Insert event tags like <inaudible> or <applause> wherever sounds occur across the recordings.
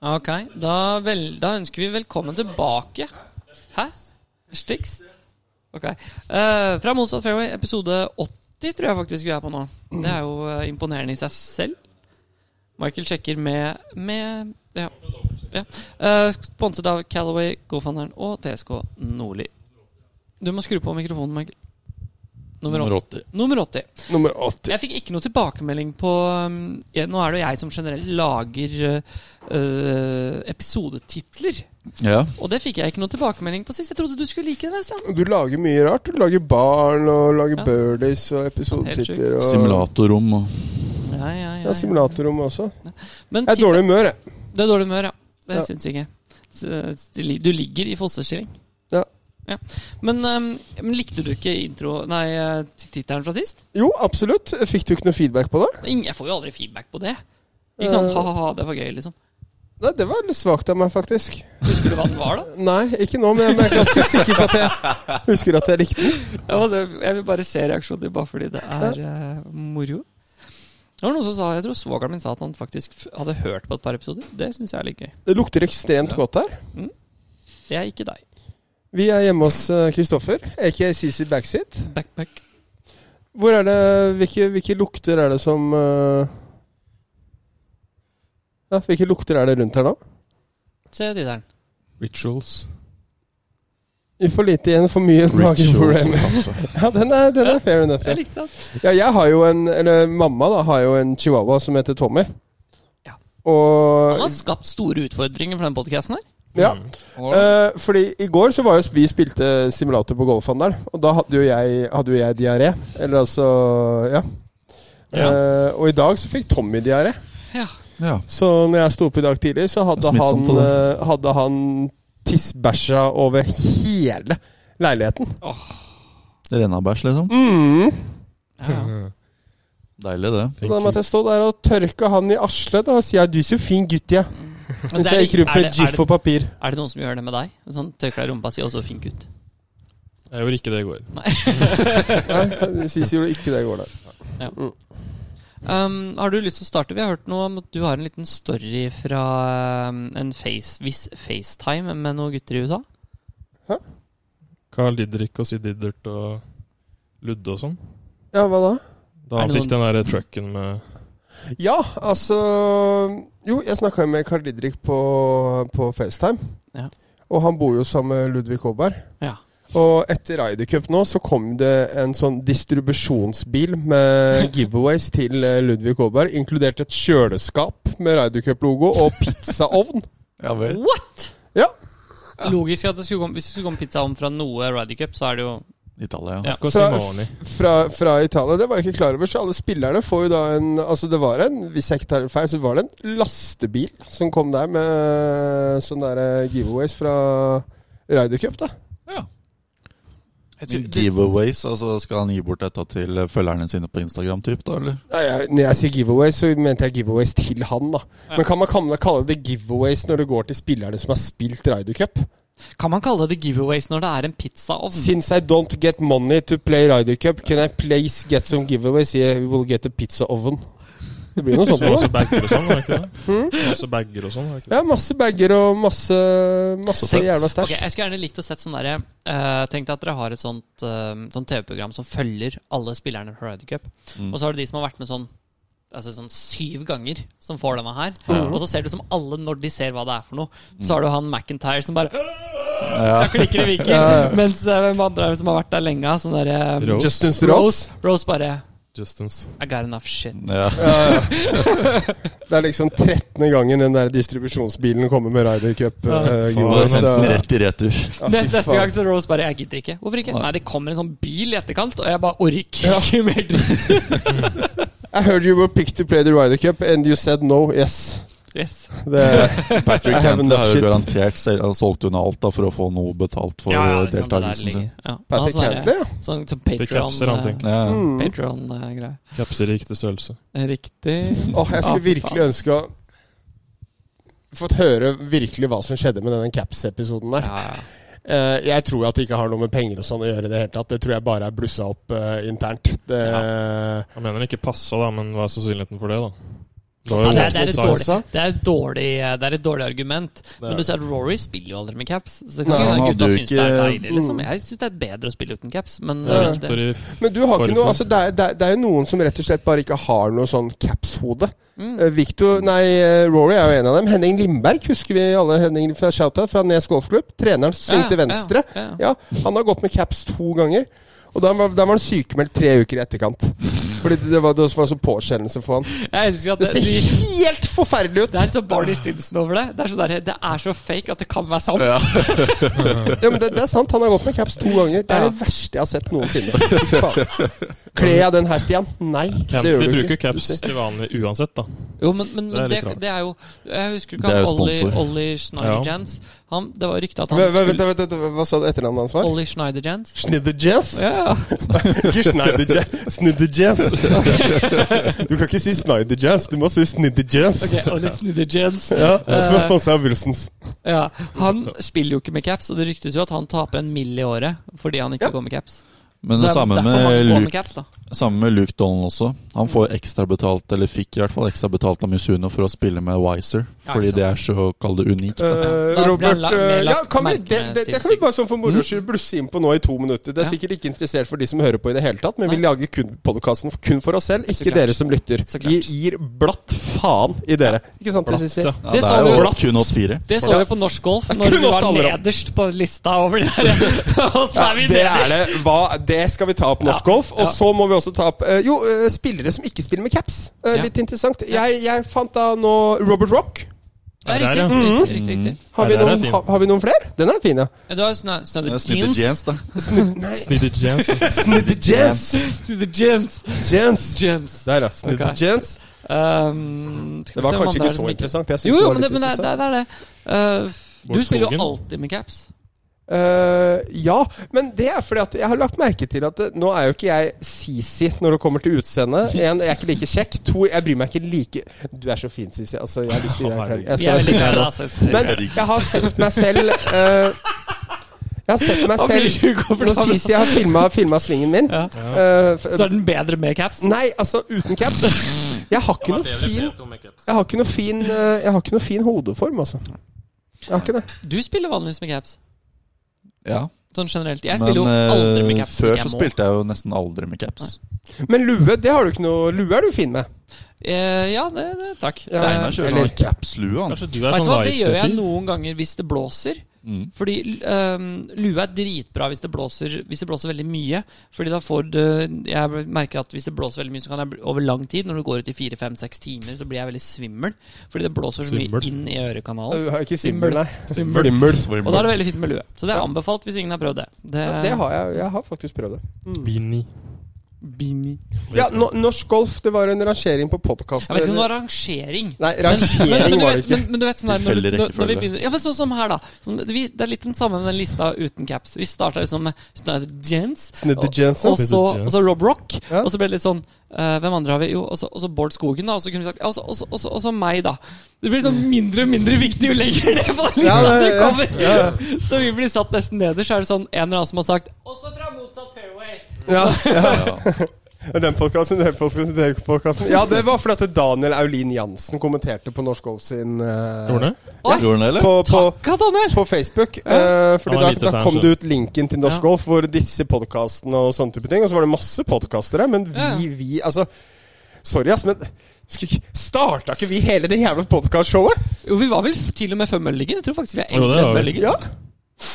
Ok, da, vel, da ønsker vi velkommen tilbake. Hæ? Stix? Ok. Eh, fra Motsatt Fairway, episode 80 tror jeg faktisk vi er på nå. Det er jo eh, imponerende i seg selv. Michael sjekker med, med Ja. ja. Eh, sponset av Callaway, Golfhandelen og TSK Nordli. Du må skru på mikrofonen, Michael. Nummer åt- Nummer 80. Nummer 80. Nummer 80. Jeg fikk ikke noe tilbakemelding på um, ja, Nå er det jo jeg som generelt lager uh, uh, episodetitler. Ja. Og det fikk jeg ikke noe tilbakemelding på sist. Jeg trodde du skulle like det. Sam. Du lager mye rart. Du lager barn og lager Ja. birdies og Helt episodetitler. Og... Simulatorrom og Ja, ja, Ja, simulatorrom også. Men Jeg er i dårlig humør, jeg. tit- det er dårlig humør, ja. Det Ja. syns jeg ikke. S- Du li- du ligger i fosterstilling. Ja. Ja. Men, um, men likte du ikke intro Nei, eh, tittelen fra sist? Jo, absolutt. Fikk du ikke noe feedback på det? Ingen- Jeg får jo aldri feedback på det. Ikke sånn Eh. ha-ha-ha, det var gøy, liksom. Nei, Det var litt svakt av meg, faktisk. Husker du hva den var, da? Nei, ikke nå, men jeg er ganske sikker på at jeg husker at jeg likte den. Ja, altså, jeg vil bare se reaksjonen din, bare fordi det er eh, moro. Det var noen som sa, Jeg tror svogeren min sa at han faktisk f hadde hørt på et par episoder. Det syns jeg er litt gøy. Det lukter ekstremt godt her. Det er ikke deg. Vi er hjemme hos eh, Kristoffer, aka CC Backseat. Backpack. Hvor er det Hvilke, hvilke lukter er det som eh, ja, Hvilke lukter er det rundt her nå? Se tittelen. Rituals. Vi får lite igjen, for mye mageproblemer. kaffe. <laughs> Ja, den er, den er fair enough. Ja. Jeg likte den. Ja, jeg har jo en Eller mamma da har jo en chihuahua som heter Tommy. Ja. Han Og har skapt store utfordringer for den podkasten her. Ja. Mm. Eh, fordi i går så var jo vi spilte simulator på golfhandelen, og da hadde jo jeg, hadde jo jeg diaré. Eller altså Ja. Ja. Eh, og i dag så fikk Tommy diaré. Ja. Ja. Så når jeg sto opp i dag tidlig, så hadde Det er han, smittsomt, det eh, hadde han tissbæsja over hele leiligheten. Renna bæsj, liksom. Mm. Deilig, det. Så da måtte jeg stå der og tørke han i arslet da, og si ja, du er så fin gutt, ja. Men Mens det er, jeg gikk rundt er, det, med er, Jiff og det, papir. er det noen som gjør det med deg? Sånn Tørker deg i rumpa si, og så fink ut. Jeg gjorde ikke det i går. Nei, Sisi gjorde ikke det i går, da. Um, har du lyst til å starte? Vi har hørt noe om at du har en liten story fra um, en face, viss FaceTime med noen gutter i USA. Carl Didrik og Sid Diddert og Ludde og sånn. Ja, hva da? Da Er han det fikk den der trucken med Ja, altså Jo, jeg snakka jo med Carl Didrik på, på FaceTime. Ja. Og han bor jo sammen med Ludvig Aaberg. Ja. Og etter Ryder Cup nå så kom det en sånn distribusjonsbil <laughs> med giveaways til eh, Ludvig Aaberg, inkludert et kjøleskap med Ryder Cup-logo og pizzaovn. Ja vel. What?! Ja. Logisk at det skulle komme, hvis det skulle komme pizza om fra noe Ryder Cup, så er det jo Italia. Ja. Fra, Cosimoni. fra, fra Italia. Det var jeg ikke klar over, så alle spillerne får jo da en Altså, det var en, hvis jeg ikke tar feil, så var det en lastebil som kom der med sånne der eh, giveaways fra Ryder Cup, da. Ja. Giveaways, altså skal han gi bort dette til eh, følgerne sine på Instagram, typ, da, eller? Nei, jeg, når jeg sier giveaways, så mente jeg giveaways til han, da. Men kan man kalle, kalle det giveaways når det går til spillerne som har spilt Ryder Cup? Kan man kalle det giveaways når det er en pizzaovn? Since I don't get money to play Ryder Cup, can I please get some giveaways? Yeah, we will get a pizza oven. Det blir noe sånt. nå, Som da. også bagger og sånn, var det ikke <laughs> det? Hmm? Som Også bagger og sånn, var det ikke det? Ja, masse bager og masse, masse Tenk- jævla stæsj. Ok, jeg skulle gjerne likt å sett sånn derre Tenk deg at dere har et sånt, eh, sånn TV-program som følger alle spillerne fra Ryder Cup. Og så har du de som har vært med sånn Altså sånn syv ganger, som får denne her. Og så ser du som alle når de ser hva det er for noe. Så har du han McIntyre som bare <laughs> Ja. klikker i vinkel. Mens eh, hvem andre er det som har vært der lenge? Sånn derre Rose. Justin Strauss. Rose bare Justins. I got enough shit. ja. <laughs> Det er liksom 13. gangen den der distribusjonsbilen kommer med Ryder Cup. Ja. eh, Det Jonas. var nesten Da- rett i retur. Ja, fy Neste, neste faen. gang så Rose bare Jeg gidder ikke. Hvorfor ikke? Nei, det kommer en sånn bil i etterkant, og jeg bare orker ikke mer dritt. I heard you were picked to play the Ryder Cup, and you said no. Yes. Yes. Det, <laughs> I Patrick have Cantley enough har shit. jo garantert selv, han solgt unna alt da for å få noe betalt for eh, det er sånn det der deltakelsen sin. ligger. Ja. Han Patrick har sånn Cantley, ja. der- Sånn som Fikk kapser, han tenker. Patron-greie. Ja. Mm. Kapser i riktig størrelse. Riktig. Åh, jeg skulle Ah, fy virkelig faen. ønske å fått høre virkelig hva som skjedde med denne Caps-episoden der. Ja, ja. Eh, jeg tror at det ikke har noe med penger og sånn å gjøre i det hele tatt. Det tror jeg bare er blussa opp eh, internt. Det, Han mener det ikke passa, da, men hva er sannsynligheten for det, da? Det var Ja, jo det, er, det, er et Walsall Size. dårlig, det, er et dårlig, eh, det er et dårlig argument. Men er du ser at Rory spiller jo aldri med caps. Så det Nei, kan ikke han være hadde gutta jo syns det er ikke- deilig, liksom. Jeg syns det er bedre å spille uten caps, men Det er eh, det, Victor i f- Men du har ikke Forfra. noe altså det, er, det, er, det er jo noen som rett og slett bare ikke har noe sånn caps-hode. Mm. Eh, Victor, nei, eh, Rory er jo en av dem. Henning Lindberg husker vi alle. Henning fra Shoutout fra Nes golfklubb. Treneren som Ja, svingte ja, venstre. ja. Ja, Han har gått med caps to ganger. Og da var, da var han sykemeldt tre uker i etterkant. Fordi det var, det var så påkjennelse for han. jeg elsker at Det det, ser de, helt forferdelig ut! det er litt sånn Barney Stinson over det. Det er, så der, det er så fake at det kan være sant. Mm. Ja, men det, det er sant, han har gått med caps to ganger. Det er Ja. det verste jeg har sett noensinne. Fy faen. Kler jeg den her, Stian? Nei, det gjør Canty du bruker ikke. caps til vanlig uansett, da. Jo, men, men Det er det, litt det, rart. er jo Jeg husker Det ikke er han jo Ollie, sponsor. Ollie Schneider-Jans. Det var ryktet at han Vent, vent, skulle vent, vent, vent, Hva sa du etternavnet hans var? Ollie Schneider-Jans. Snidderjazz? Ja, ja. Ikke Schneiderjazz. Snidderjazz. <laughs> Du kan ikke si Snyderjazz, du må si Snidderjazz. Ok, Eh, Ollie Schneider-Jans. Ja, som er sponsa av Wilsons. Ja. Han spiller jo ikke med caps, og det ryktes jo at han taper en mill i året fordi han ikke Ja. går med caps. Men Så det det er samme derfor med, han går med Luke, caps, da. samme med Luke Donald også. Han får ekstra betalt, eller fikk i hvert fall ekstra betalt av Mizuno for å spille med Wiser. Ja, Fordi ikke det er så, kall det, unikt. Eh, Da blir Robert han la- eh, mer Ja, lagt kan vi, merke det, det, det kan vi til bare sånn for moro skyld blusse inn på nå i to minutter. Det er Ja. sikkert ikke interessert for de som hører på i det hele tatt, men vi Nei. lager kun podkasten kun for oss selv, ikke klart. dere som lytter. Så klart. Vi gir blatt faen i dere. Ikke sant, Blatt, SSC? ja. Ja, Det det sa er vi jo jo. kun oss fire. Det så vi på norsk golf når kun vi oss det var handler om. nederst på lista over det der. Og så er vi det nederst. er det. Hva, det skal vi ta opp norsk Ja. golf. Og Ja. så må vi også ta opp eh, Jo, eh, spillere som ikke spiller med caps. Eh, Ja. Litt interessant. Jeg, jeg fant da nå Robert Rock. Ja, Der er det. riktig, riktig, riktig, riktig. Har, Ja, vi den er noen, fin. ha, har vi noen flere? Den er <laughs> fin, ja. Ja, Du har Snyder <laughs> Snudde Jens, da. Snitty Jans. Sniddy Jens. Jeans. Jens. Jeans. Der, ja. Sniddy Ok. Jens. Um, skal vi Det se var om han kanskje ikke der som så interessant. Jeg synes Jo, det jo, var men det, litt men det, interessant. det, det er det. Uh, du Bård spiller Skogen. jo alltid med caps. Eh, ja, men det er fordi at jeg har lagt merke til at eh, nå er jo ikke jeg sisi når det kommer til utseendet. En, jeg er ikke like kjekk. To, jeg bryr meg ikke like Du er så fin, sisi. Altså, jeg har lyst til å gi deg en klem. Jeg skal Jeg er være veldig stille her glad i deg, nå. altså, jeg synes det. Men jeg har sett meg selv eh, Jeg har sett meg Han blir ikke selv Nå ukomfortabel. sies jeg har filma, filma svingen min. Ja. Eh, f- Så er den bedre med caps. nei, altså uten caps. Jeg har ikke noe fin Jeg har ikke noe fin eh, Jeg har ikke noe fin hodeform, altså. Jeg har ikke det. Du spiller vanligvis med caps. Ja. Sånn generelt. Jeg Men spiller jo aldri med eh, caps. før jeg så må. spilte jeg jo nesten aldri med caps. Men lue det har du ikke noe Lue er du fin med. Eh, ja, det, det, takk. Ja. Det- Steinar kjører Eller- sånn capslue, han. Kanskje du er Vet sånn du hva, det gjør jeg Wiser-fyr? noen ganger hvis det blåser. Mm. Fordi ehm, lue er dritbra hvis det, blåser, hvis det blåser veldig mye. Fordi da får du Jeg merker at hvis det blåser veldig mye, så kan jeg bli- over lang tid, når det går ut i fire, fem, seks timer, så blir jeg veldig svimmel. Fordi det blåser så mye Svimmel. inn i ørekanalen. Du har ikke svimmel, nei. Svimmel. Svimmel. Og da er det veldig fint med lue. Så det er anbefalt hvis ingen har prøvd det. Det, Ja, det har jeg. Jeg har faktisk prøvd det. Beanie. Bini. Ja, no, Norsk golf, det var en rangering på Jeg vet ikke om det podkasten. var liksom rangering. Nei, rangering du var det vet- ikke. Men, men du vet sånn der, når, Tilfeldig du- når, når vi rekkefølge. begynner Ja, men sånn som her, da. Sånn, vi, det er litt den samme med den lista uten caps. Vi starta liksom med Snyder Jens. Sneddy og- Jensen. Og så, Jens. og så Rob Rock. Ja. Og så ble det litt sånn eh, Hvem andre har vi? Jo, og så, og så Bård Skogen, da. Og så kunne vi sagt Og så- og så- og så- og så meg, da. Det blir sånn mindre og mindre viktig jo lenger ned på den lista Ja, ja, du ja. kommer. Så når vi blir satt nesten nederst, så er det sånn en eller annen som har sagt Også fra motsatt fairway. Ja, Ja. Den podkasten, den podkasten, den podkasten. Ja, det var fordi at Daniel Aulin Jansen kommenterte på Norsk Golf sin eh, Gjorde han det? Oi, Gjorde han det, eller? på, på, takk, Daniel! på Facebook. eh, fordi Han var da, lite da fan, kom så. det ut linken til Norsk Ja. Golf hvor disse podkastene og sånne type ting. Og så var det masse podkastere, men vi, Ja. vi Altså, sorry, ass, men skulle ikke- starta ikke vi hele det jævla podkastshowet? Jo, vi var vel f- til og med før Mølligen. Jeg tror faktisk vi er Jo, det eldre enn var vi. Mølligen. Ja.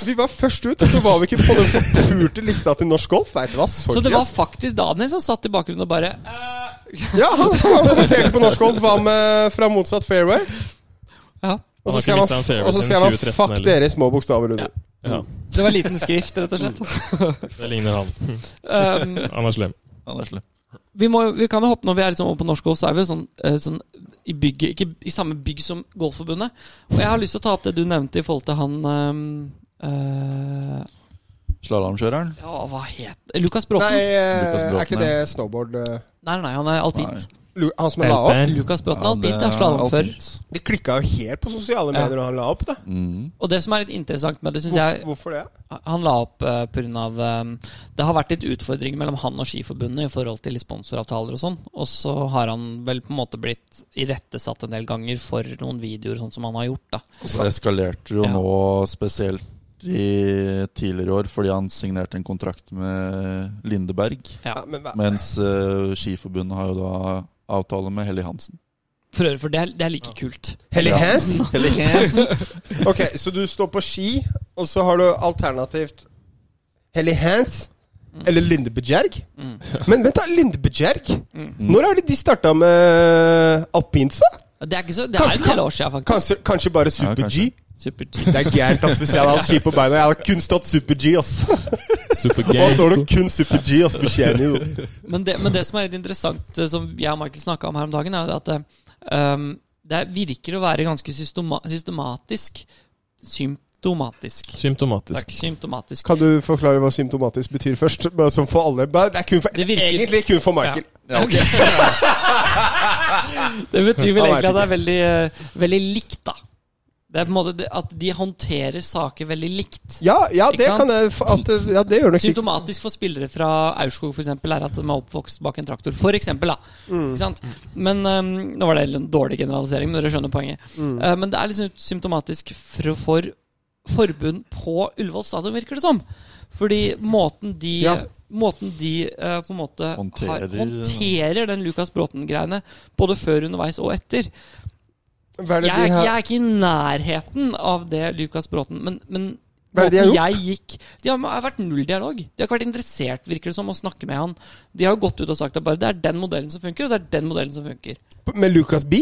Vi var først ut, og så var vi ikke på den forpurte lista til Norsk Golf. Vet du hva, sorry. Så det var ass. faktisk Daniel som satt i bakgrunnen og bare eh, Ja, han, han kommenterte på Norsk Golf. Hva med fra motsatt fairway? Ja. Og Han har så ikke skrev mistet en han, fairway og så siden skrev han 2013 'fuck heller. dere' i små bokstaver under. Ja. Ja, Det var liten skrift, rett og slett. det ligner han. <laughs> Um, Han er slem. Han er slem. vi, må, vi kan jo hoppe når vi er liksom oppe på Norsk Golf, så er vi jo sånn, eh, sånn i bygget Ikke i samme bygg som Golfforbundet. Og jeg har lyst til å ta opp det du nevnte i forhold til han eh, eh, Slalåmkjøreren. Ja, hva het Lukas Nei, Bråten? Nei. eh, Lukas Bråten, er ikke det snowboard eh? nei, nei, han er alpint. Lu- Han som la opp? Lukas Bråten, Ja, det alpint, ja, er slalåmfører. alpint. Det klikka jo helt på sosiale Ja. medier når han la opp, da. Mm. Og det som er litt interessant med det, syns Hvorfor, jeg hvorfor det? Han la opp uh, pga. Uh, det har vært litt utfordringer mellom han og Skiforbundet i forhold til sponsoravtaler og sånn. Og så har han vel på en måte blitt irettesatt en del ganger for noen videoer, sånn som han har gjort. da Og så eskalerte det jo Ja. nå spesielt i tidligere år fordi han signerte en kontrakt med Lindeberg. Ja. Ja, men hva? Mens eh, Skiforbundet har jo da avtale med Helly Hansen. Mm. For, øvrig, for det, er, det er like kult. Helly Ja. Hands? Helly <laughs> Hansen! Ok, så du står på ski, og så har du alternativt Helly Hands Mm. eller Lindebjerg. Men vent, da. Lindebjerg? Mm. Når har de- de starta med eh, alpinsa? Det er ikke så Det er Kanskje- en del år siden, faktisk. Kanskje, kanskje bare Super Ja, G? kanskje. Supert. Det er gærent, ass. Hvis jeg hadde hatt ski på beina, jeg hadde kun stått Super G, ass. Nå Supergay. står det kun Super G, ass. Betjener jo. Men det, men det som er litt interessant, eh, som jeg og Michael snakka om her om dagen, er jo det at eh, um, det virker å være ganske systema systematisk. Symptomatisk. Symptomatisk. Takk. Symptomatisk. Kan du forklare hva symptomatisk betyr først? Bare sånn for alle. Bare- Det er kun for, Det virker- egentlig kun for Michael. Ja, ok. <laughs> det betyr vel egentlig Han vet at det er veldig, eh, veldig likt, da. Det er på en måte det- at de håndterer saker veldig likt. Ja, ja, Ikke det sant? kan jeg f- at, det- Ja, det gjør nok sikkert. Symptomatisk for spillere fra Aurskog for eksempel, er at de er oppvokst bak en traktor. For eksempel, da. Mm. Ikke sant? Men ehm, Nå var det en dårlig generalisering, men dere skjønner poenget. Mm. Eh, men det er liksom symptomatisk for, for forbund på Ullevål stadion, virker det som. Fordi måten de Ja. Måten de eh, på en måte håndterer, Håndterer- har, håndterer den Lukas Bråten-greiene, både før, underveis og etter. Hva er det Jeg, er- de jeg har er ikke i nærheten av det Lukas Bråten Men, men Hva er det de har måten gjort? jeg gikk De har, har vært null dialog. De har ikke vært interessert, virker det som, å snakke med han. De har jo gått ut og sagt at bare det er den modellen som funker, og det er den modellen som funker. Med Lucas B?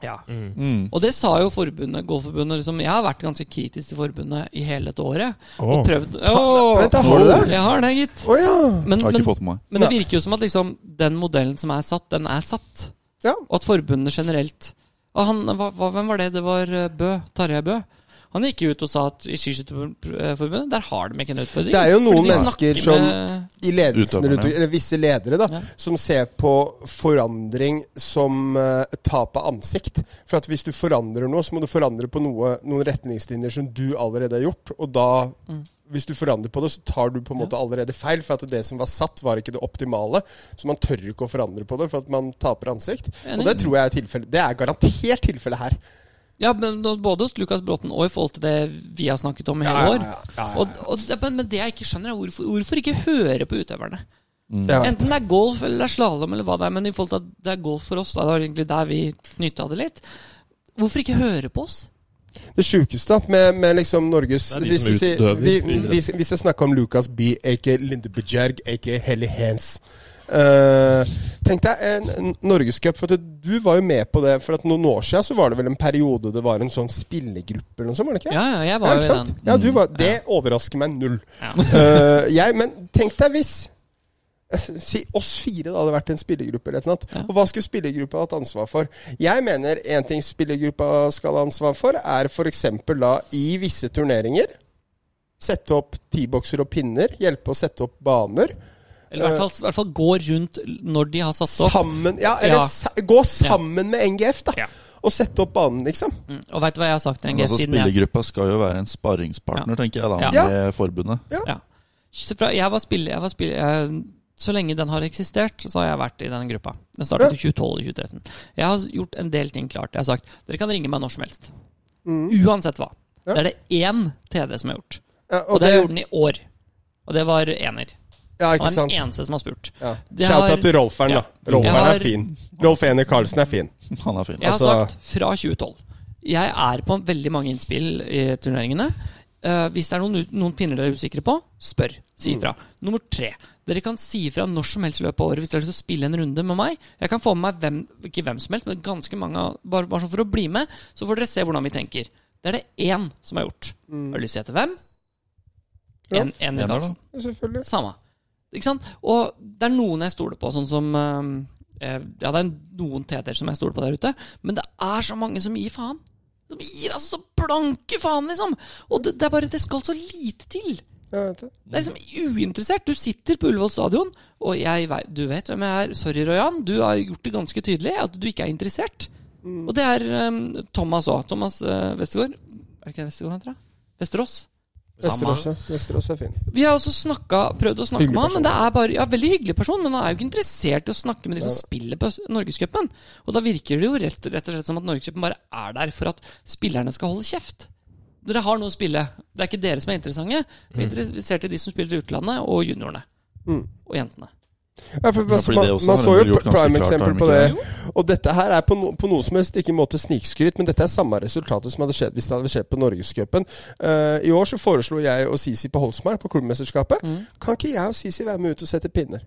Ja. Mm. Og det sa jo forbundet, Golfforbundet. Liksom, jeg har vært ganske kritisk til forbundet i hele dette året. Åh. Og prøvd Vent, da Åh, har du det? Jeg har det, gitt. Å ja. Men, Har ikke men, fått med meg. men det virker jo som at liksom, den modellen som er satt, den er satt. Ja. Og at forbundet generelt og han, hva, hva, Hvem var det? Det var eh, Bø. Tarjei Bø. Han gikk jo ut og sa at i Skiskytterforbundet der har de ikke en utfordring. Det er jo noen Fordi de snakker mennesker som med- i ledelsen Utøverne, rundt, ja. eller visse ledere, da, Ja. som ser på forandring som eh, tap av ansikt. For at hvis du forandrer noe, så må du forandre på noe, noen retningslinjer som du allerede har gjort. Og da, Mm. hvis du forandrer på det, så tar du på en måte allerede feil. For at det som var satt, var ikke det optimale. Så man tør ikke å forandre på det, for at man taper ansikt. Enig. Og det tror jeg er tilfellet. Det er garantert tilfellet her. Ja, men nå- både hos Lukas Bråten og i forhold til det vi har snakket om i hele Ja, ja, år. ja, ja, ja. Og, og det, men men det jeg ikke skjønner, er hvorfor, hvorfor ikke høre på utøverne? Ja. Enten det er golf eller det er slalåm eller hva det er, men i forhold til at det er golf for oss, da, det var egentlig der vi knytta det litt. Hvorfor ikke høre på oss? Det sjukeste da, med, med liksom Norges Det er de hvis, som vi sier- utøver vi, idrett. hvis, hvis jeg snakker om Lucas B, aka Linde Bejerg, aka Helly Hands Eh, tenk deg en, en norgescup, for at du var jo med på det. For at noen år siden så var det vel en periode det var en sånn spillegruppe eller noe sånt? var det ikke? Ja, ja, jeg var ikke jo i sant? den. Mm, Ja, du var, det overrasker meg null. Ja. <laughs> Eh, jeg, men tenk deg hvis eh, Si oss fire da hadde vært en spillergruppe. eller et eller annet. Og hva skulle spillergruppa hatt ansvar for? Jeg mener en ting spillergruppa skal ha ansvar for, er f.eks. da i visse turneringer Sette opp T-bokser og pinner. Hjelpe å sette opp baner. Eller i hvert fall, i hvert fall gå rundt når de har satt opp. Sammen Ja, eller Ja. sa- gå sammen med NGF, da. Ja. Mm. Og sette opp banen, liksom. Og veit du hva jeg har sagt til Men NGF altså, siden jeg spillergruppa skal jo være en sparringspartner, tenker jeg, da, Ja. med forbundet. <laughs> ja. Så fra, Jeg var spiller, jeg var spiller jeg, Så lenge den har eksistert, så har jeg vært i den gruppa. Den startet i 2012 og 2013. Jeg har gjort en del ting klart. Jeg har sagt dere kan ringe meg når som helst. Uansett hva. Det er det én TD som har gjort. Ja, Og, det gjorde den i år. Og det var ener. Ja, Han ikke er sant. den eneste som har spurt. Ja. Det Shout har- out til Rolferen, da. Ja. Rolferen Jeg har- er fin. Rolf Ener Karlsen er fin. Han er fin. Jeg har Altså- sagt fra 2012. Jeg er på veldig mange innspill i turneringene. Eh, hvis det er noen, ut- noen pinner dere er usikre på, spør. Si Mm. ifra. Nummer tre. Dere kan si ifra når som helst i løpet av året hvis dere har lyst til å spille en runde med meg. Jeg kan få med meg hvem, ikke hvem som helst, men ganske mange, av- bare, bare sånn for å bli med. Så får dere se hvordan vi tenker. Det er det én som har gjort. Har du lyst til å hete hvem? Mm. Ja, En, en, ener, da. Karlsen. Selvfølgelig. Samme. Ikke sant? Og det er noen jeg stoler på, sånn som eh, eh, Ja, det er noen TD-er som jeg stoler på der ute, men det er så mange som gir faen. De gir altså så blanke faen, liksom! Og det, det er bare Det skal så lite til. Jeg vet det. Det er liksom uinteressert. Du sitter på Ullevål stadion, og jeg vei- du vet hvem jeg er. Sorry, Royan. Du har gjort det ganske tydelig at du ikke er interessert. Og det er um, Thomas òg. Thomas eh, Westergård. Er det ikke Westergård han heter? da? Vesterås. Vesterås, ja. Vesterås er fin. Vi har også snakka, prøvd å snakke Hyggelig med han, men det er bare, ja, veldig hyggelig person, men han er jo ikke interessert i å snakke med de som spiller på Norgescupen. Og da virker det jo rett, rett og slett som at Norgescupen bare er der for at spillerne skal holde kjeft. Dere har noe å spille. Det er ikke dere som er interessante. Vi er interessert i de som spiller i utlandet, og juniorene. Og jentene. Ja, for man, fordi det man, også man har så de jo gjort ganske klart, prime har eksempel de på ikke det. Og dette her er på, no, på noe som helst ikke en måte snikskryt, men dette er samme resultatet som hadde skjedd hvis det hadde skjedd på Norgescupen. Eh, I år så foreslo jeg og Sisi på Holsmark på klubbmesterskapet. Mm. Kan ikke jeg og Sisi være med ut og sette pinner?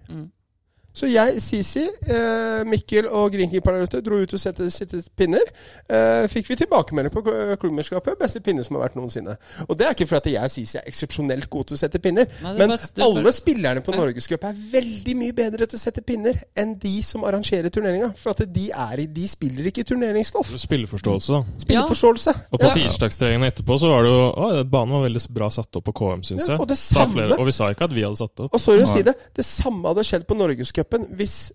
Så jeg, Sisi, eh, Mikkel og Greenkeeper der ute dro ut og sette, sette pinner. Eh, fikk vi tilbakemelding på kl- klubbmesterskapet. Beste pinne som har vært noensinne. Og det er ikke fordi jeg og Sisi er eksepsjonelt gode til å sette pinner, Nei, det er men bare- det er bare- alle spillerne på Norgescup er veldig mye bedre til å sette pinner enn de som arrangerer turneringa. For at de, er, i- de spiller ikke turneringsgolf. Spilleforståelse, da. Spilleforståelse. Og på tirsdagstreningene etterpå så var det jo Å, banen var veldig bra satt opp på KM, syns Ja, jeg. og det Sa samme- flere, og vi sa ikke at vi hadde satt det opp. Og sorry å si det, det samme hadde skjedd på Norgescupen hvis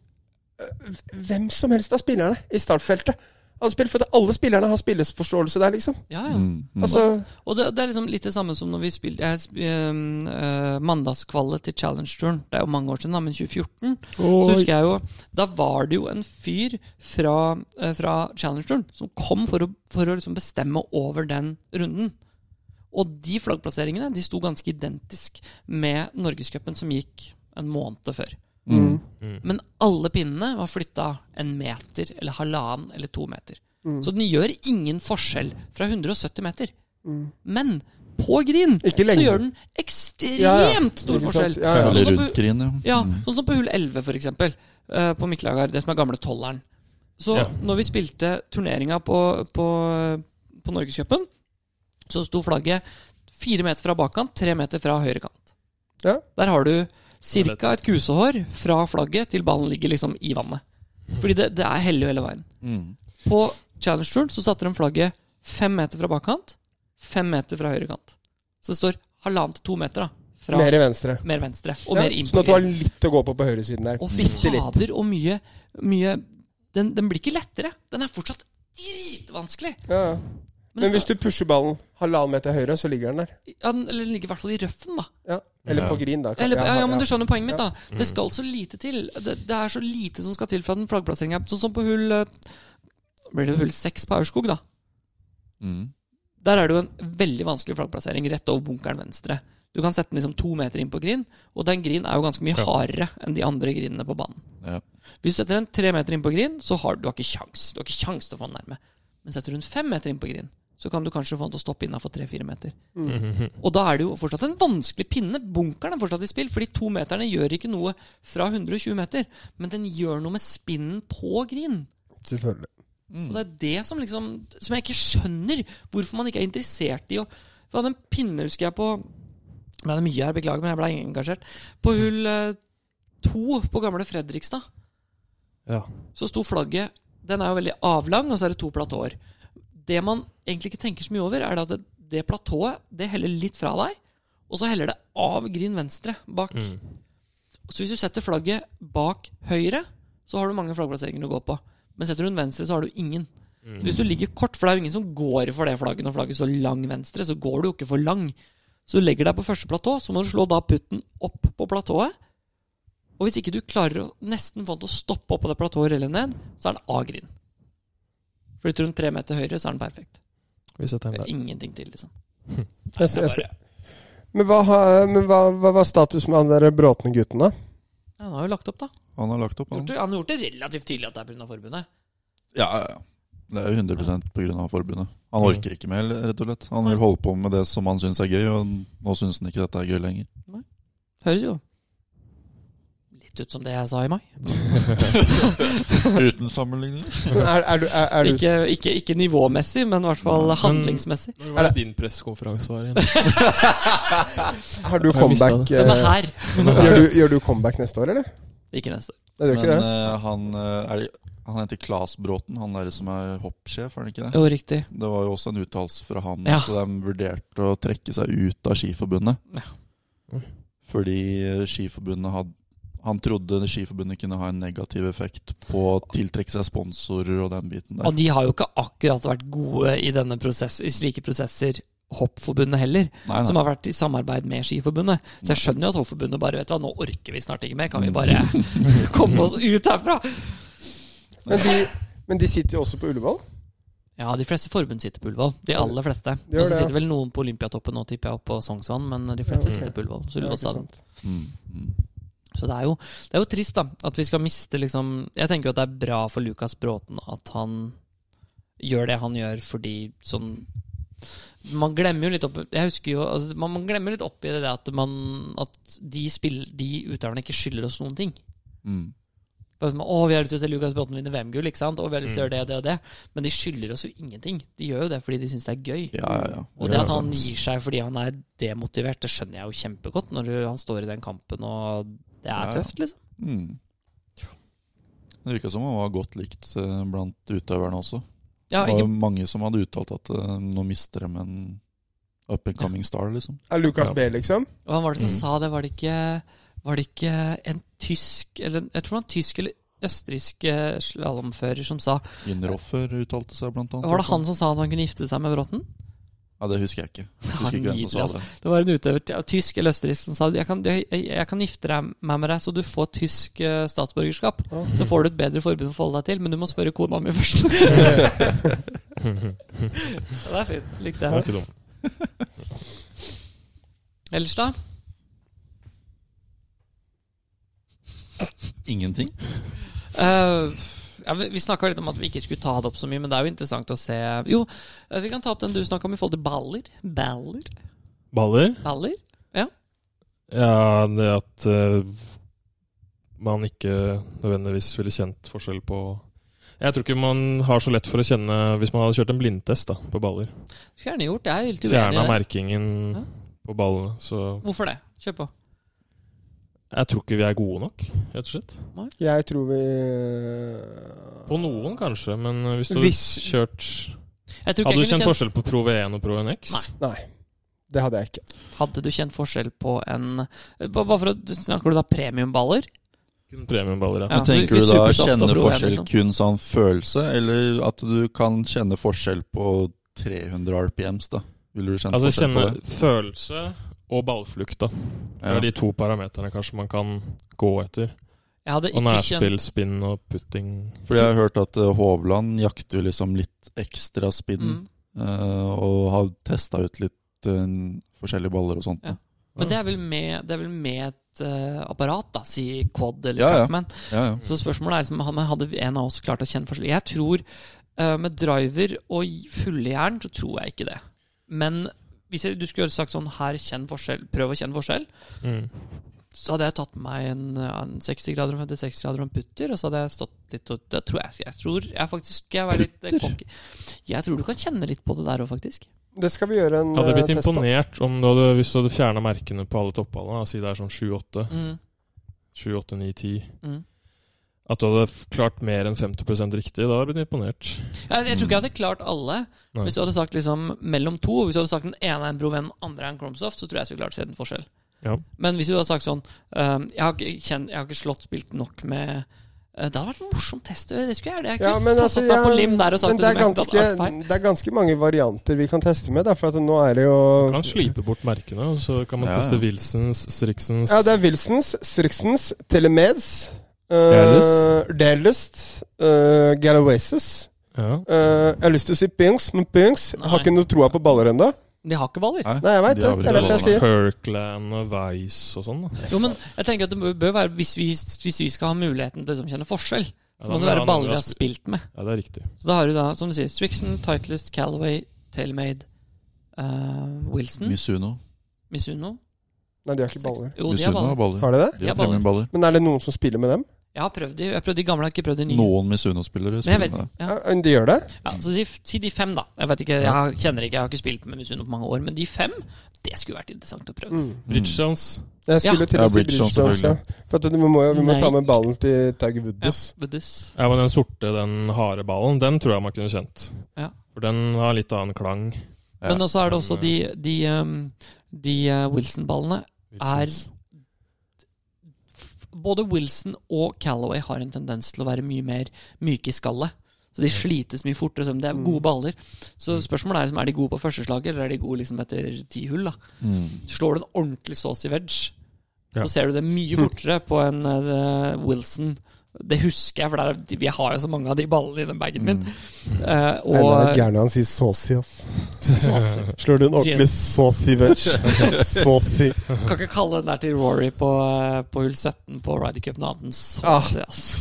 øh, hvem som helst av spillerne i startfeltet hadde spilt. For at alle spillerne har spilleforståelse der, liksom. Mm. Ja, Mm. ja. Altså, Og det, det er liksom litt det samme som når vi spilte jeg, sp- ehm, eh, mandagskvalet til Challenge-turen. Det er jo mange år siden, da, men 2014 så husker jeg jo Da var det jo en fyr fra, eh, fra Challenge-turen som kom for å, for å liksom bestemme over den runden. Og de flaggplasseringene de sto ganske identisk med Norgescupen som gikk en måned før. Mm. Mm. Men alle pinnene var flytta en meter eller halvannen eller to meter. Mm. Så den gjør ingen forskjell fra 170 meter. Men på green Mm. Ikke så lenge. gjør den ekstremt Ja, ja. stor Ikke sant? forskjell. Ja, ja. Eller Sånn som på- rundt grin, ja. ja, sånn som på hull 11 for eksempel eh, På Miklagard, det som er gamle tolleren Så Ja. når vi spilte turneringa på, på, på Norgescupen Så sto flagget Fire meter fra bakkant, tre meter fra høyre kant Ja. Der har du cirka et kusehår Fra flagget til ballen ligger liksom i vannet Fordi det, det er hellig hele veien Mm. På Challenge Tour så satte de flagget Fem meter fra bakkant Fem meter fra høyre kant Så det står halvannet til to meter da Fra mer i venstre. mer venstre og Ja, mer inn på sånn at du green. har litt å gå på på høyresiden der. Og Bitte litt. fader og mye, mye den, den blir ikke lettere. Den er fortsatt dritvanskelig. Ja. ja. Men hvis skal- du pusher ballen halvannen meter høyre, så ligger den der. ja, den, eller den ligger i hvert fall i røffen, da. Ja. Eller Ja. på green, da. kan- Eller, ja, ja, men ja. Du skjønner poenget mitt, da. Det skal så lite til. Det, det er så lite som skal til fra den flaggplasseringa. Sånn som på hull eh, Blir det hull seks på Aurskog, da? Mm. Der er det jo en veldig vanskelig flaggplassering rett over bunkeren venstre. Du kan sette den liksom to meter inn på green, og den green er jo ganske mye hardere enn de andre greenene på banen. Ja. Hvis du setter den tre meter inn på green, så har du har ikke sjans. Du har ikke sjans til å få den nærme. Men setter du den fem meter inn på green, så kan du kanskje få den til å stoppe innafor tre-fire meter. Og da er det jo fortsatt en vanskelig pinne. Bunkeren er fortsatt i spill, fordi to meterne gjør ikke noe fra 120 meter, men den gjør noe med spinnen på green. Selvfølgelig. Og det er det som liksom Som jeg ikke skjønner hvorfor man ikke er interessert i å For jeg hadde en pinne, husker jeg, på Men det er mye her, beklager, men jeg ble engasjert. På hull eh, to på gamle Fredrikstad Ja. så sto flagget Den er jo veldig avlang, og så er det to platåer. Det man egentlig ikke tenker så mye over, er at det, det platået det heller litt fra deg, og så heller det av grin venstre bak. Så hvis du setter flagget bak høyre, så har du mange flaggplasseringer å gå på. Men setter du den venstre, så har du ingen. Så Hvis du ligger kort, for det er jo ingen som går for det flagget når flagget står lang venstre, så går du jo ikke for lang. Så du legger deg på første platå, så må du slå da putten opp på platået. Og hvis ikke du klarer å nesten få den til å stoppe opp på det platået og relle ned, så er den A-grind. Flytter hun tre meter høyre, så er den perfekt. Vi setter Det den er der. ingenting til, liksom. Jeg, jeg, jeg, men hva, har- men hva, hva var status med han der Bråten-gutten, da? Ja, Han har jo lagt opp, da. Han har lagt opp, Gjort han. det, han har gjort det relativt tydelig at det er pga. forbundet. Ja, ja, ja. Det er jo 100 pga. forbundet. Han Mm. orker ikke mer, rett og slett. Han vil holde på med det som han syns er gøy, og nå syns han ikke dette er gøy <laughs> lenger. Høres jo litt ut som det jeg sa i mai. Uten sammenligning. Men <laughs> er, er, du, er, er du Ikke, ikke, ikke nivåmessig, men i hvert fall handlingsmessig. Når var det din pressekonferanse <laughs> var igjen? Har du Jeg mistet comeback Den er <laughs> eh, her! gjør, du, gjør du comeback neste år, eller? Ikke neste. Nei, du Men gjør ikke det? eh, han, eh, er, det- han heter Klas Bråten, han der som er hoppsjef, er han ikke det? Jo, riktig. Det var jo også en uttalelse fra han Ja. at de vurderte å trekke seg ut av Skiforbundet. Ja. Fordi eh, Skiforbundet hadde han trodde Skiforbundet kunne ha en negativ effekt på å tiltrekke seg sponsorer og den biten der. Og de har jo ikke akkurat vært gode i, denne prosess, i slike prosesser, Hoppforbundet heller, Nei, som nei. har vært i samarbeid med Skiforbundet. Så jeg skjønner jo at Hoppforbundet bare vet hva, nå orker vi snart ikke mer, kan vi <laughs> bare komme oss ut herfra? Men de, men de sitter jo også på Ullevål. Ja, de fleste forbund sitter på Ullevål. De aller fleste. De gjør Og så det, ja. sitter vel noen på Olympiatoppen nå, tipper jeg, oppe på Sognsvann, men de fleste Ja, ok. sitter på Ullevål. Så Ja, ikke Ullevålstaden. sant? Mm, mm. Så det er, jo, det er jo trist da at vi skal miste liksom Jeg tenker jo at det er bra for Lukas Bråten at han gjør det han gjør, fordi sånn Man glemmer jo litt opp Jeg husker jo altså, man, man glemmer litt opp i det at, man, at de, spill, de utøverne ikke skylder oss noen ting. Mm. Bare sånn, Å, vi har lyst til å se Lukas Bråten vinne VM-gull, ikke sant? Og vi har lyst til å gjøre det og det og det. Men de skylder oss jo ingenting. De gjør jo det fordi de syns det er gøy. Ja, ja, ja. Og det at han gir seg fordi han er demotivert, det skjønner jeg jo kjempegodt når du- han står i den kampen og det Ja, er ja. tøft, liksom. Mm. Det virka som han var godt likt eh, blant utøverne også. Ja, det ikke var mange som hadde uttalt at eh, nå mister de en up and coming star, liksom. Er Lukas Ja. B, liksom? Og han var det som Mm. sa det, var det ikke Var det ikke en tysk eller, en- Jeg tror det var en tysk eller østerriksk eh, slalåmfører som sa Inneroffer uttalte seg, blant annet. Var det han som sa at han kunne gifte seg med Bråten? Ja, Det husker jeg ikke. Jeg Husker ikke hvem som sa Nydelig, det. Det var en utøver, ja, tysk eller østerriksk, som sa jeg kan, jeg, jeg kan gifte deg meg med deg, så du får tysk eh, statsborgerskap. Så får du et bedre forbund å forholde deg til, men du må spørre kona mi først. <laughs> Ja, det er fint. Likte Det er jeg. ikke dumt. Ellers, da? Ingenting. Eh, ja, vi vi snakka litt om at vi ikke skulle ta det opp så mye, men det er jo interessant å se Jo, eh, vi kan ta opp den du snakka om i forhold til baller. Baller? Baller? Baller? Ja, det at eh, man ikke nødvendigvis ville kjent forskjell på Jeg tror ikke man har så lett for å kjenne hvis man hadde kjørt en blindtest da, på baller. Skulle gjerne gjort det. Jeg er helt uenig Fjerna i det. merkingen Hæ? på ballene. Så Hvorfor det? Kjør på. jeg tror ikke vi er gode nok, rett og slett. Jeg tror vi På noen kanskje, men hvis du Hvis- hadde kjørt Jeg tror ikke Hadde du jeg kunne kjent kjent- forskjell på Pro V1 og Pro NX? Nei. eh, Nei. Det hadde jeg ikke. Hadde du kjent forskjell på en eh, ba- Bare for å Snakker du da premiumballer? Kun premiumballer, ja. Ja, Men vi- tenker du vi da supersoft og kjenne bro, forskjell liksom. kun sånn følelse, eller at du kan kjenne forskjell på 300 RPMs, da? Ville du kjenne Altså forskjell kjenne på det? følelse og ballflukt, da. Det Ja. er de to parameterne kanskje man kan gå etter. Jeg hadde Og ikke kjent nærspill, spinn og putting. Fordi jeg har hørt at eh, Hovland jakter jo liksom litt ekstra spinn, mm. eh, og har testa ut litt eh, forskjellige baller og sånt. Ja. Men det er vel med, det er vel med et eh, apparat, da, si quad eller Ja, ja. Trackman. Ja, ja. Så spørsmålet er liksom, han- hadde en av oss klart å kjenne forskjell. Jeg tror eh, med driver og j- fulle jern, så tror jeg ikke det. Men hvis jeg, du skulle sagt sånn her, kjenn forskjell, prøv å kjenne forskjell, Mm. så hadde jeg tatt meg en, eh, en 60 grader og en 56 grader og en putter, og så hadde jeg stått litt og det tror jeg, jeg tror jeg faktisk skal jeg være litt eh, cocky. Jeg tror du kan kjenne litt på det der òg, faktisk. Det skal vi gjøre en Jeg hadde blitt eh, test på. imponert om du hadde, hvis du hadde fjerna merkene på alle toppballene, da, si det er sånn 7-8, Mm, 7-8, 9-10, mm. at du hadde f- klart mer enn 50 riktig, da hadde jeg blitt imponert. Jeg, jeg tror ikke jeg hadde klart alle. Nei. Hvis du hadde sagt liksom mellom to, hvis du hadde sagt den ene er en Broven, den andre er en Cromsoft, så tror jeg jeg skulle klart å se den forskjell. Ja. Men hvis du hadde sagt sånn ehm, jeg, har ikke, kjenn- jeg har ikke slått spilt nok med eh, Det hadde vært en morsom test. Det skulle jeg gjøre. Jeg Ja, kunne men satt altså, meg på jeg- lim der og sagt Men det er, som jeg ikke ganske, hadde hatt feil. det er ganske mange varianter vi kan teste med. Da, for at nå er det jo Du kan slipe bort merkene, og så kan man Ja, ja. teste Wilsons, Striksens Ja, det er Wilsons, Strixens, Telemeds, uh, Derlist. Derlist, uh, Galawaces. Ja. Eh, jeg har lyst til å si Pinks, men Pinks Nei. har ikke noe troa på baller ennå. De har ikke baller. Nei, Nei, jeg vet de det. har vel Det er derfor jeg ikke sier Kirkland og Vice og sånn. da. Jo, men jeg tenker at det bør- bør være Hvis vi, hvis vi skal ha muligheten til å liksom kjenne forskjell, Ja, så da må må det jeg være ha baller noen vi jeg har har spilt med. Ja, det er riktig. Så da har du da, som du sier, Strixon, Titleist, Calaway, Tailmade, eh, Wilson, Misuno. Misuno Nei, de har ikke baller. Jo, de har Misuno har baller. baller. Har de det? De har har baller. premiumballer. Men er det noen som spiller med dem? Jeg har prøvd de. Jeg har prøvd de gamle, jeg har ikke prøvd de nye. Noen Misuno-spillere Men jeg spiller vet, med det. ja. Ja. De gjør det? Ja, så si, si de fem, da. Jeg vet ikke, jeg har- kjenner ikke, jeg har ikke spilt med Misuno på mange år, men de fem, det skulle vært interessant å prøve. Mm. Bridgestones. Jeg skulle til Ja, å si Bridgestone, Bridgestone også. For at vi må, jo- vi må Nei. ta med ballen til Tiger Ja, Woods. with this. Ja, men den sorte, den harde ballen, den tror jeg man kunne kjent. Ja. For den har litt annen klang. Ja. Men også er det også de, de, um, de uh, Wilson-ballene. Wilsons. f- Både Wilson og Callaway har en tendens til å være mye mer myke i skallet. Så de slites mye fortere. så Det er gode baller. Så spørsmålet er liksom, er de gode på første slaget, eller er de gode liksom etter ti hull? da? Mm. Slår du en ordentlig saucy wedge, Ja. så ser du det <laughs> mye fortere på en eh, Wilson. Det husker jeg, for det er, vi har jo så mange av de ballene i den bagen min. Eh, Mm. Nei, det er og gærne han sier saucy, <laughs> ass. Slår du en ordentlig saucy wedge? Saucy. kan ikke kalle den der til Rory på, eh, på hull 17 på Ryder Cup noe annet enn Ah. saucy, ass.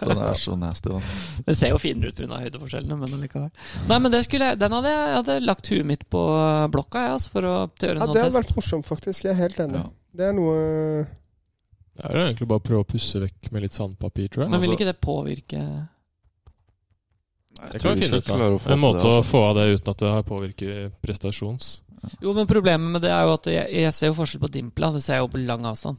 Den er så nasty, den. Den ser jo finere ut pga. høydeforskjellene, men allikevel. Nei, men det skulle jeg, den hadde jeg, jeg hadde lagt huet mitt på eh, blokka, jeg, altså, for å til å gjøre Ja, en sånn det hadde test. vært morsomt, faktisk. Jeg er helt enig. Ja. Det er noe <laughs> Det er jo egentlig bare å prøve å pusse vekk med litt sandpapir, tror jeg. Men Altså- vil ikke det påvirke Jeg Det tror kan vi finne ikke ut av. klarer å få En måte til det, altså. å altså. få av det uten at det har påvirket prestasjons. Jo, men problemet med det er jo at jeg, jeg ser jo forskjell på dimpla. Det ser jeg jo på lang avstand.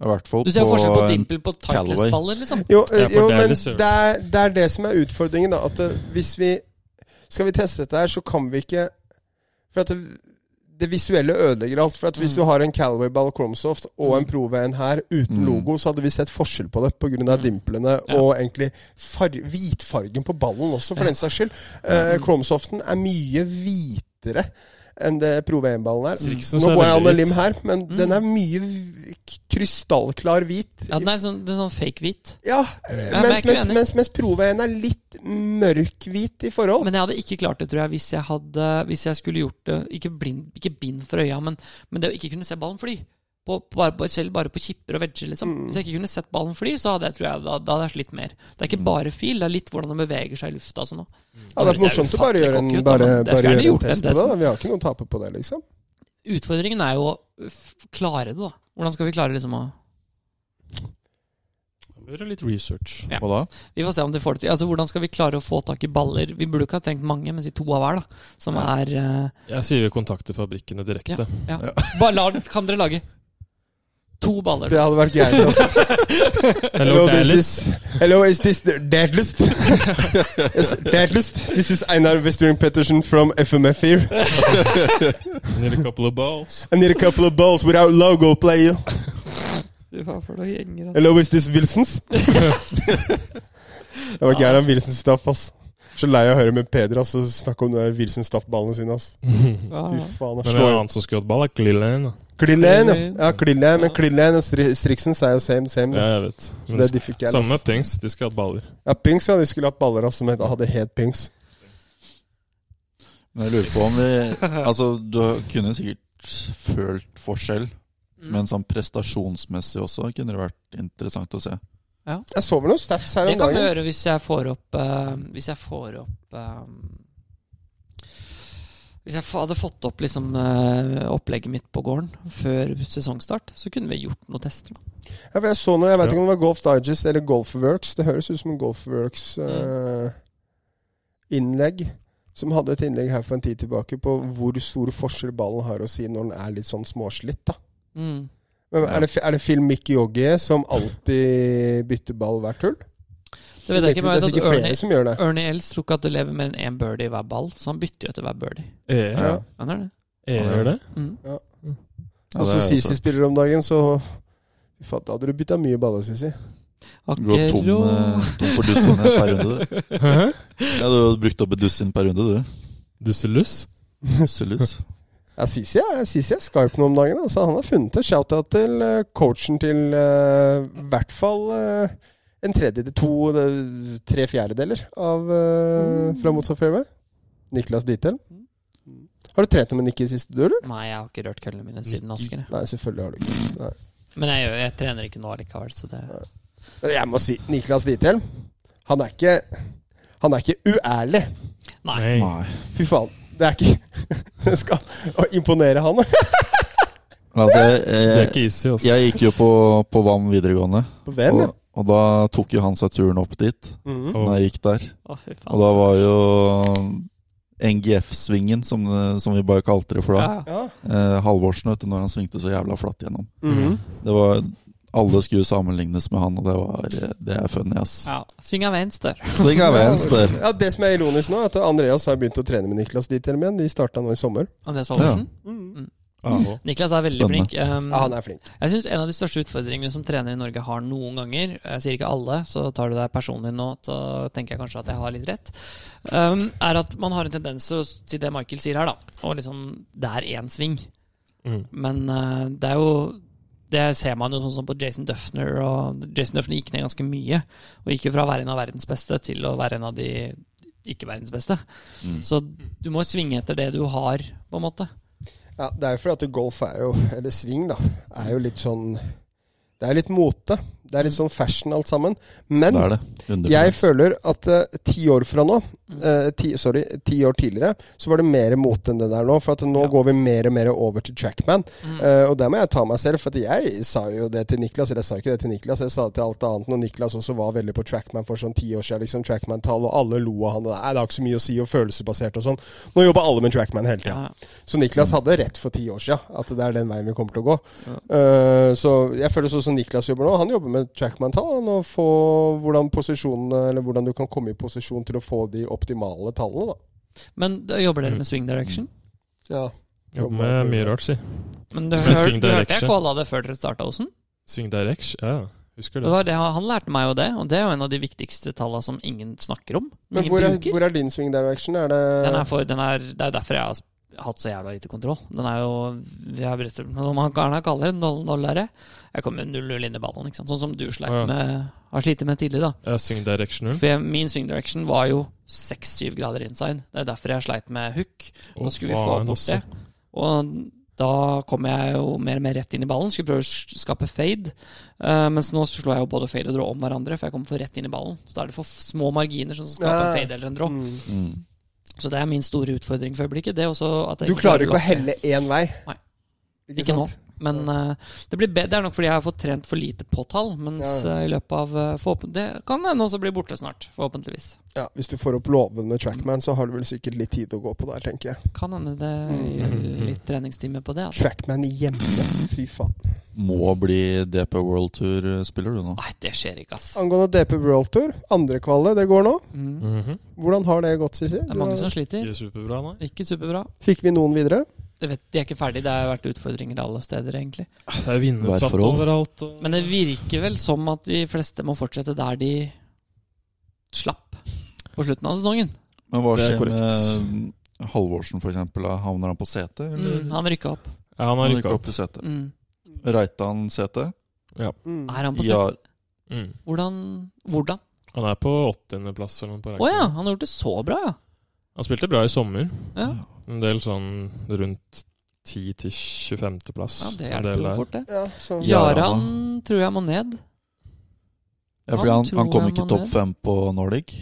I hvert fall Du ser jo forskjell på en- dimple på tightless-baller, liksom. Jo, eh, Ja, for jo det er men det søren. det er, det er det som er utfordringen, da. At eh, hvis vi Skal vi teste dette her, så kan vi ikke For at det, det visuelle ødelegger alt. For at hvis Mm. du har en Calaway Ball Cromsoft og en Mm. Prove-en her uten Mm. logo, så hadde vi sett forskjell på det pga. Mm. dimplene Ja. og egentlig far, hvitfargen på ballen også, Ja. for den saks skyld. Eh, Cromsoften er mye hvitere enn det Prove-1-ballen er. Nå Sirksen ser går jeg an veldig en lim ut. her, men Mm. den er mye v- k- krystallklar hvit. Ja, den er sånn, det er sånn fake-hvit. Ja, men jeg er mens, ikke mens, uenig. mens, mens Prove1 er litt mørkhvit i forhold. Men jeg hadde ikke klart det, tror jeg, hvis jeg, hadde, hvis jeg skulle gjort det Ikke, blind, ikke bind for øya, men, men det å ikke kunne se ballen fly. På, bare, bare, selv bare på kipper og vegger, liksom. Hvis jeg ikke kunne sett ballen fly, så hadde jeg, tror jeg, da, da hadde jeg slitt mer. Det er ikke bare fil, det er litt hvordan den beveger seg i lufta. og Sånn, også. det hadde vært det ser morsomt å bare ufattelig gjøre en, cocky ut, da, bare, men jeg skulle bare gjerne gjøre en gjort den test på det. testen. Da. Vi har ikke noe å tape på det, liksom. Utfordringen er jo å f- klare det, da. Hvordan skal vi klare liksom å Gjøre litt research. Ja. Hva da? Vi får se om de får det til. Altså, Hvordan skal vi klare å få tak i baller? Vi burde ikke ha trengt mange, men si to av hver, da. Som er eh, Jeg sier vi kontakter fabrikkene direkte. Bare la, kan dere lage to baller? Det hadde vært greit. <laughs> Altså. Hello, Dallas. is, hello, is this the deadlist? <laughs> yes, deadlist. This is Einar Westering Pettersen from FMF here. Need a couple of <laughs> balls. I need a couple of balls without logo player. Fy faen, for noen gjenger, altså. Hello, is this Wilsons? <laughs> det var gæren av Wilsons staff, ass. Så lei av å høre med Peder ass, og snakke om Wilsons staff-ballene sine. ass. Ja, Fy ja. faen, ass. Men en Slå- annen som skulle hatt ball, er Glillen. Klillen. Klillen, ja. ja Klillen, men Klillen og Stri- Striksens er jo same, same. da. Ja, jeg vet. Så Men det er de fikk jeg. ass. samme med Pings, de skulle hatt baller. Ja, Pings ja, de skulle hatt baller ass, som het- hadde het Pings. Men jeg lurer på om <laughs> vi Altså, du kunne sikkert følt forskjell, Mm. men sånn prestasjonsmessig også kunne det vært interessant å se. Jeg så vel noen stats her Det om kan vi dagen. gjøre hvis jeg får opp eh, Hvis jeg får opp eh, Hvis jeg fa- hadde fått opp liksom, eh, opplegget mitt på gården før sesongstart, så kunne vi gjort noen tester. Da. Ja, for jeg så noe, jeg vet Ja. ikke om det var Golf Digest eller Golfworks. Det høres ut som en Mm. Golfworks-innlegg. som hadde et innlegg her for en tid tilbake på hvor stor forskjell ballen har å si når den er litt sånn småslitt. da. Mm. Men er, det, er det Phil Mikkiogi som alltid bytter ball hvert hull? Det vet jeg ikke, men det jeg er vet sikkert at flere Ernie, som gjør det. Ernie Els tror ikke at det lever mer enn én birdie i hver ball, så han bytter jo etter hver birdie. Eh, Ja. Han er det. eh, gjør det? Mm. Ja, det Og så er altså jo Altså, Sisi så- spiller om dagen, så Fy faen, da hadde du bytta mye baller, Sisi. Gå tom, Akkerå. eh, tom for dusin per <laughs> runde, du. Hæ? Ja, du har brukt opp et dusin per runde, du. Dusselus? Dusselus. Ja, Sisi er, Sisi er skarp nå om dagen. Altså, han har funnet det. Shout-out til eh, coachen til eh, i hvert fall eh, en tredjedel, to, eh, tre fjerdedeler av eh, fra motsatt fairway. Niklas Dittel. Har du trent med Nikki i siste du, eller? Nei, jeg har ikke rørt køllene mine siden Asker. jeg. Nei, selvfølgelig har du ikke. Nei. Men jeg, gjør- jeg trener ikke nå likevel, så det Men jeg må si Niklas Dittel. Han er ikke Han er ikke uærlig. Nei. <laughs> Nei. Nei. Fy faen. Det er ikke <laughs> Det skal å imponere han. Men Altså, Det er jeg, ikke easy, altså. jeg gikk jo på, på VAM videregående, På VM, og, ja. og da tok jo han seg turen opp dit. Mhm. Når jeg gikk der. Å, fy faen. Og da var jo NGF-svingen, som, det- som vi bare kalte det for da. ja, ja. Ja. Eh, Halvorsen, vet du, når han svingte så jævla flatt gjennom. Mhm. Det var Alle skulle sammenlignes med han, og det var eh, Det er funny, ass. ja. Sving av venstre. Sving av venstre. Ja, Det som er ironisk nå, er at Andreas har begynt å trene med Niklas Dieter igjen. De starta nå i sommer. Andreas Halvorsen? AH. Niklas er veldig Spennende. flink. Um, Ja, han er flink. Jeg synes En av de største utfordringene som trener i Norge har noen ganger, jeg sier ikke alle, så tar du deg personlig nå, så tenker jeg kanskje at jeg har litt rett, um, er at man har en tendens til å- til det Michael sier her, da. Og liksom Det er én sving. Mm. Men eh, det er jo det ser man jo sånn som på Jason Duffner. Og Jason Duffner gikk ned ganske mye. Og gikk jo fra å være en av verdens beste til å være en av de ikke verdens beste. Mm. Så du må svinge etter det du har, på en måte. Ja, det er jo fordi at golf er jo, eller sving da, er jo litt sånn Det er litt mote. Det er litt sånn fashion alt sammen. Men Det er det. 100%. jeg føler at eh, ti år fra nå, eh, ti, sorry, ti år tidligere, så var det mer mote enn det der nå. For at nå Ja. går vi mer og mer over til trackman. Eh, og der må jeg ta meg selv, for at jeg sa jo det til Niklas. Eller jeg sa ikke det til Niklas, jeg sa det til alt annet. Når Niklas også var veldig på trackman for sånn ti år siden, liksom trackman-tall, og alle lo av han. Og Nei, det har ikke så mye å si, og følelsesbasert og sånn. Nå jobber alle med trackman hele tida. Så Niklas hadde rett for ti år siden, at det er den veien vi kommer til å gå. Ja. Eh, så jeg føler sånn som Niklas jobber nå. Han jobber med trackman-tall. Han å få hvordan posisjonene, eller hvordan du kan komme i posisjon til å få de optimale tallene, da. Men da jobber dere med swing direction? Ja. Jobber med mye rart, si. Men du, Men hør, <laughs> swing du hørte jeg direction. kåla det før dere starta, Osen? Swing direction, ja, ja. Husker Det det. var det, han han lærte meg jo det, og det er jo en av de viktigste talla som ingen snakker om. Men ingen hvor er, bruker. hvor er din swing direction? Er det Den er for, den er, det er derfor jeg har sp- hatt så jævla lite kontroll. Den er jo vi har brettet, men Om han Garna kaller det 0-0-ere Jeg kommer 0-0 inn i ballen, ikke sant? sånn som du sleit Ja. med, har slitt med tidligere. da Ja, swing directional. For jeg, Min swing direction var jo 6-7 grader inside. Det er derfor jeg sleit med hook. Nå Å, skulle vi få faen, bort altså. det. Og da kom jeg jo mer og mer rett inn i ballen. Skulle prøve å s- skape fade. Eh, mens nå slår jeg jo både fade og draw om hverandre, for jeg kommer for rett inn i ballen. Så da er det for f- små marginer som skal skape en Ja. fade eller en draw. Mm. Mm. Så det er min store utfordring for øyeblikket. Det er også at jeg Du ikke klarer ikke å å helle én vei. Nei. Ikke, Ikke nå. sant? Men eh, det, blir bedre. det er nok fordi jeg har fått trent for lite på tall. Mens Ja, eh, i løpet av eh, forhåpent- Det kan hende også bli borte snart. Forhåpentligvis. Ja, hvis du får opp låven med trackman, så har du vel sikkert litt tid å gå på der, tenker jeg. Kan hende det gjør Mm. litt treningstime på det. Altså. Trackman i hjemme. Fy faen. Må bli DP World Tour-spiller du nå. Nei, det skjer ikke, ass. Angående DP World Tour, andre kvalet, det går nå. Mm. Mhm. Hvordan har det gått, Sissy? Det er mange som sliter. Ikke superbra, nei. Ikke superbra. Fikk vi noen videre? Det vet, de er ikke ferdig. Det har vært utfordringer alle steder, egentlig. Det er vindutsatt Værforhold. overalt. Og... Men det virker vel som at de fleste må fortsette der de slapp på slutten av sesongen. Men hva Det er skjer korrekt. med Halvorsen, for eksempel? da? Havner han på CT? Eller? Mm, han rykka opp. Ja, han har Han rykka rykker opp. opp til CT. Mm. Reitan CT? Mm. Er han på Ja, sett? Mm. Hvordan? Hvordan? Han er på åttiendeplass eller noe Å ja, på rankingen. han har gjort det så bra, ja. Han spilte bra i sommer. Ja. En del sånn rundt 10 til 25. plass. ja det hjelper En del jo der. fort, det. Ja, så. Ja. Jaran tror jeg må ned. ja, fordi han, Han han tror kom jeg ikke man topp er. fem på Nordic?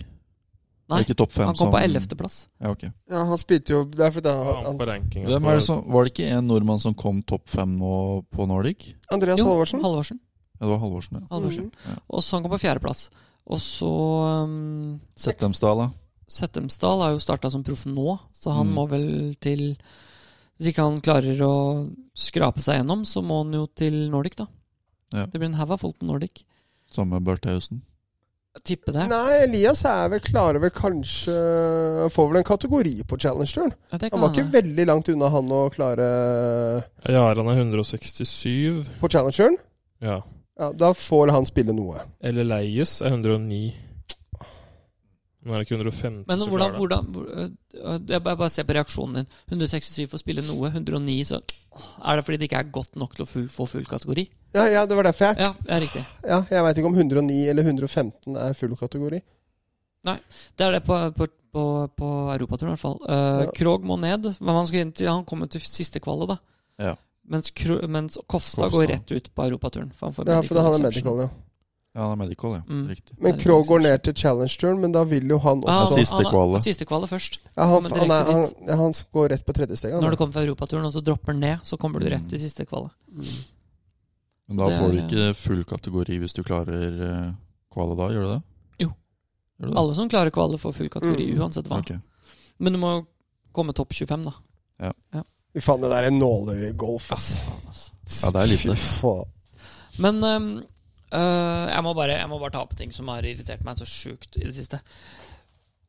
Nei, ikke topp fem Han kom som- på ellevteplass. Ja, ok. ja, han spilte jo det er fordi Ja, han, han på rankingen Hvem på- er det som, var det ikke en nordmann som kom topp fem nå på Nordic? Andreas Halvorsen. Halvorsen. Ja, det var Halvorsen, ja. Halvorsen. Og så han kom på fjerdeplass. Og så um, Settemsdal, da. Settemsdal har jo starta som proff nå, så han Mm. må vel til Hvis ikke han klarer å skrape seg gjennom, så må han jo til Nordic, da. Ja. Det blir en haug av folk på Nordic. Samme med Bertheussen. Jeg tipper det. Mm. Nei, Elias er vel klarer vel kanskje Han får vel en kategori på Challenger-turen. Ja, det Han kan var ikke hende. veldig langt unna han å klare Jaran er 167. på Challenger-turen. Ja. Ja, da får han spille noe. Eller Leies er 109. Nå er det ikke 115 Men som hvordan, klarer det. hvordan hvor- øh, øh, Jeg bare, bare ser på reaksjonen din. 167 får spille noe, 109 så Er det fordi det ikke er godt nok til å full, få full kategori? Ja, ja, det var derfor jeg Ja, det er riktig. Ja, Jeg veit ikke om 109 eller 115 er full kategori. Det er det på, på, på, på europaturen, i hvert fall. Eh, Ja. Krog må ned. Men han, skal inn til, han kommer til siste kvalet, da. Ja. Mens, Kro- mens Kofstad, Kofstad. går rett ut på europaturen. For han får Ja, medical for da han er exemption. medical, ja. Ja, han er medical, ja. Mm. Riktig. Er Men det Krogh går Challenger? ned til Challenge-turen, men da vil jo han Ja, Ah, også siste han- han- kvalet. Siste kvalet først. Ja, han, Kommer han, direkte er, han, ja, han går rett på tredjesteget. Når du kommer fra europaturen og så dropper den ned, så kommer du Mm. rett til siste kvalet. Men da Det er- får du ikke full kategori hvis du klarer eh, kvala da, gjør du det? Jo. Gjør du det? Alle som klarer kvalet, får full kategori Mm. uansett hva. Ok. Men du må komme topp 25, da. Fy faen, det der er nåløye golf, ass. Ja, det er lite. Fy faen. Men ehm, øh, jeg, må bare, jeg må bare ta opp ting som har irritert meg så sjukt i det siste.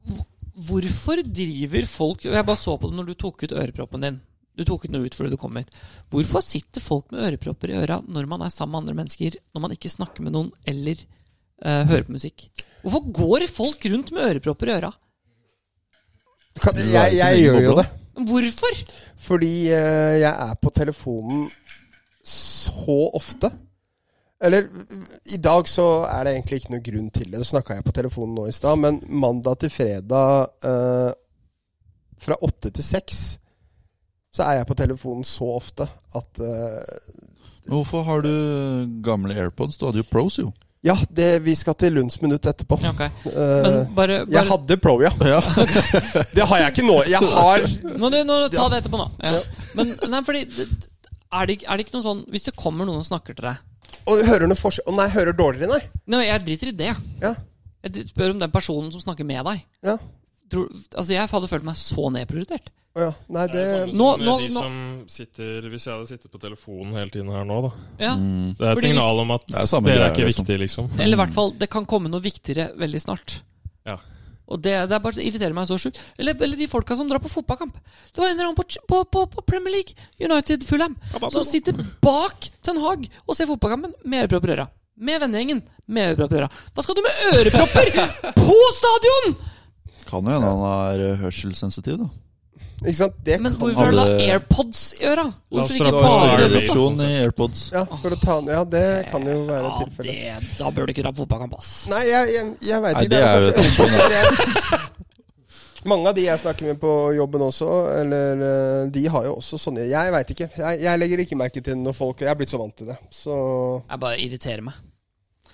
Hvor- Hvorfor driver folk Jeg bare så på det når du tok ut øreproppen din. Du tok ikke noe ut fordi du kom hit. Hvorfor sitter folk med ørepropper i øra når man er sammen med andre mennesker, når man ikke snakker med noen eller eh, hører på musikk? Hvorfor går folk rundt med ørepropper i øra? Kan, Du er i jeg jeg, sin egen gjør jo boble. det. Hvorfor? Fordi eh, jeg er på telefonen så ofte. Eller i dag så er det egentlig ikke noe grunn til det. Nå snakka jeg på telefonen nå i stad, men mandag til fredag eh, fra åtte til seks så er jeg på telefonen så ofte at eh, Hvorfor har du gamle AirPods? Du hadde jo Pros, jo. Ja, det, vi skal til Lunds minutt etterpå. Ja, ok. Men Eh, bare, jeg bare hadde Pro, ja. <laughs> det har jeg ikke nå. Jeg har Nå, du, nå ta det etterpå, nå. Ja. Men nei, fordi det- er det, ikke- er det ikke noe sånn Hvis det kommer noen og snakker til deg Og hører du noe forskjell Å nei, hører dårligere, nei. Nei, jeg driter i det. Ja. Jeg dri- spør om den personen som snakker med deg. Ja. Tror, altså, jeg hadde følt meg så nedprioritert. Å ja. Nei, det Eh, Nå- Nå, nå- de nå- som sitter, hvis jeg hadde sittet på telefonen hele tiden her nå, da Ja. Mm. Det er et Fordi hvis- signal om at Det er samme dere er greia, ikke liksom. viktige, liksom. Eller i hvert fall, det kan komme noe viktigere veldig snart. Ja. Og det, det er bare det irriterer meg så sjukt. Eller, eller de folka som drar på fotballkamp. Det var en eller annen på, Ch- på, på, på Premier League, United Fulham, som sitter bak Ten Hag og ser fotballkampen med ørepropper i øra. Med vennegjengen med ørepropper i øra. Hva skal du med ørepropper på stadion?! Kan jo hende han er eh, hørselssensitiv, da. Ikke sant? Det Men kan hvorfor har du da Alle- AirPods i øra? La oss Hvorfor dra ikke på bare Airbnb. Redaksjon i AirPods. <laughs> Ja, for å ta den Ja, det kan jo være Ja, tilfellet. det, da bør du ikke dra på fotballkamp, ass. Nei, jeg, jeg, jeg veit Nei, ikke. det er jo et kanskje- kanskje jeg- <laughs> Mange av de jeg snakker med på jobben også, eller eh, de har jo også sånne Jeg veit ikke. Jeg, jeg legger ikke merke til det når folk Jeg er blitt så vant til det. Så Jeg bare irriterer meg.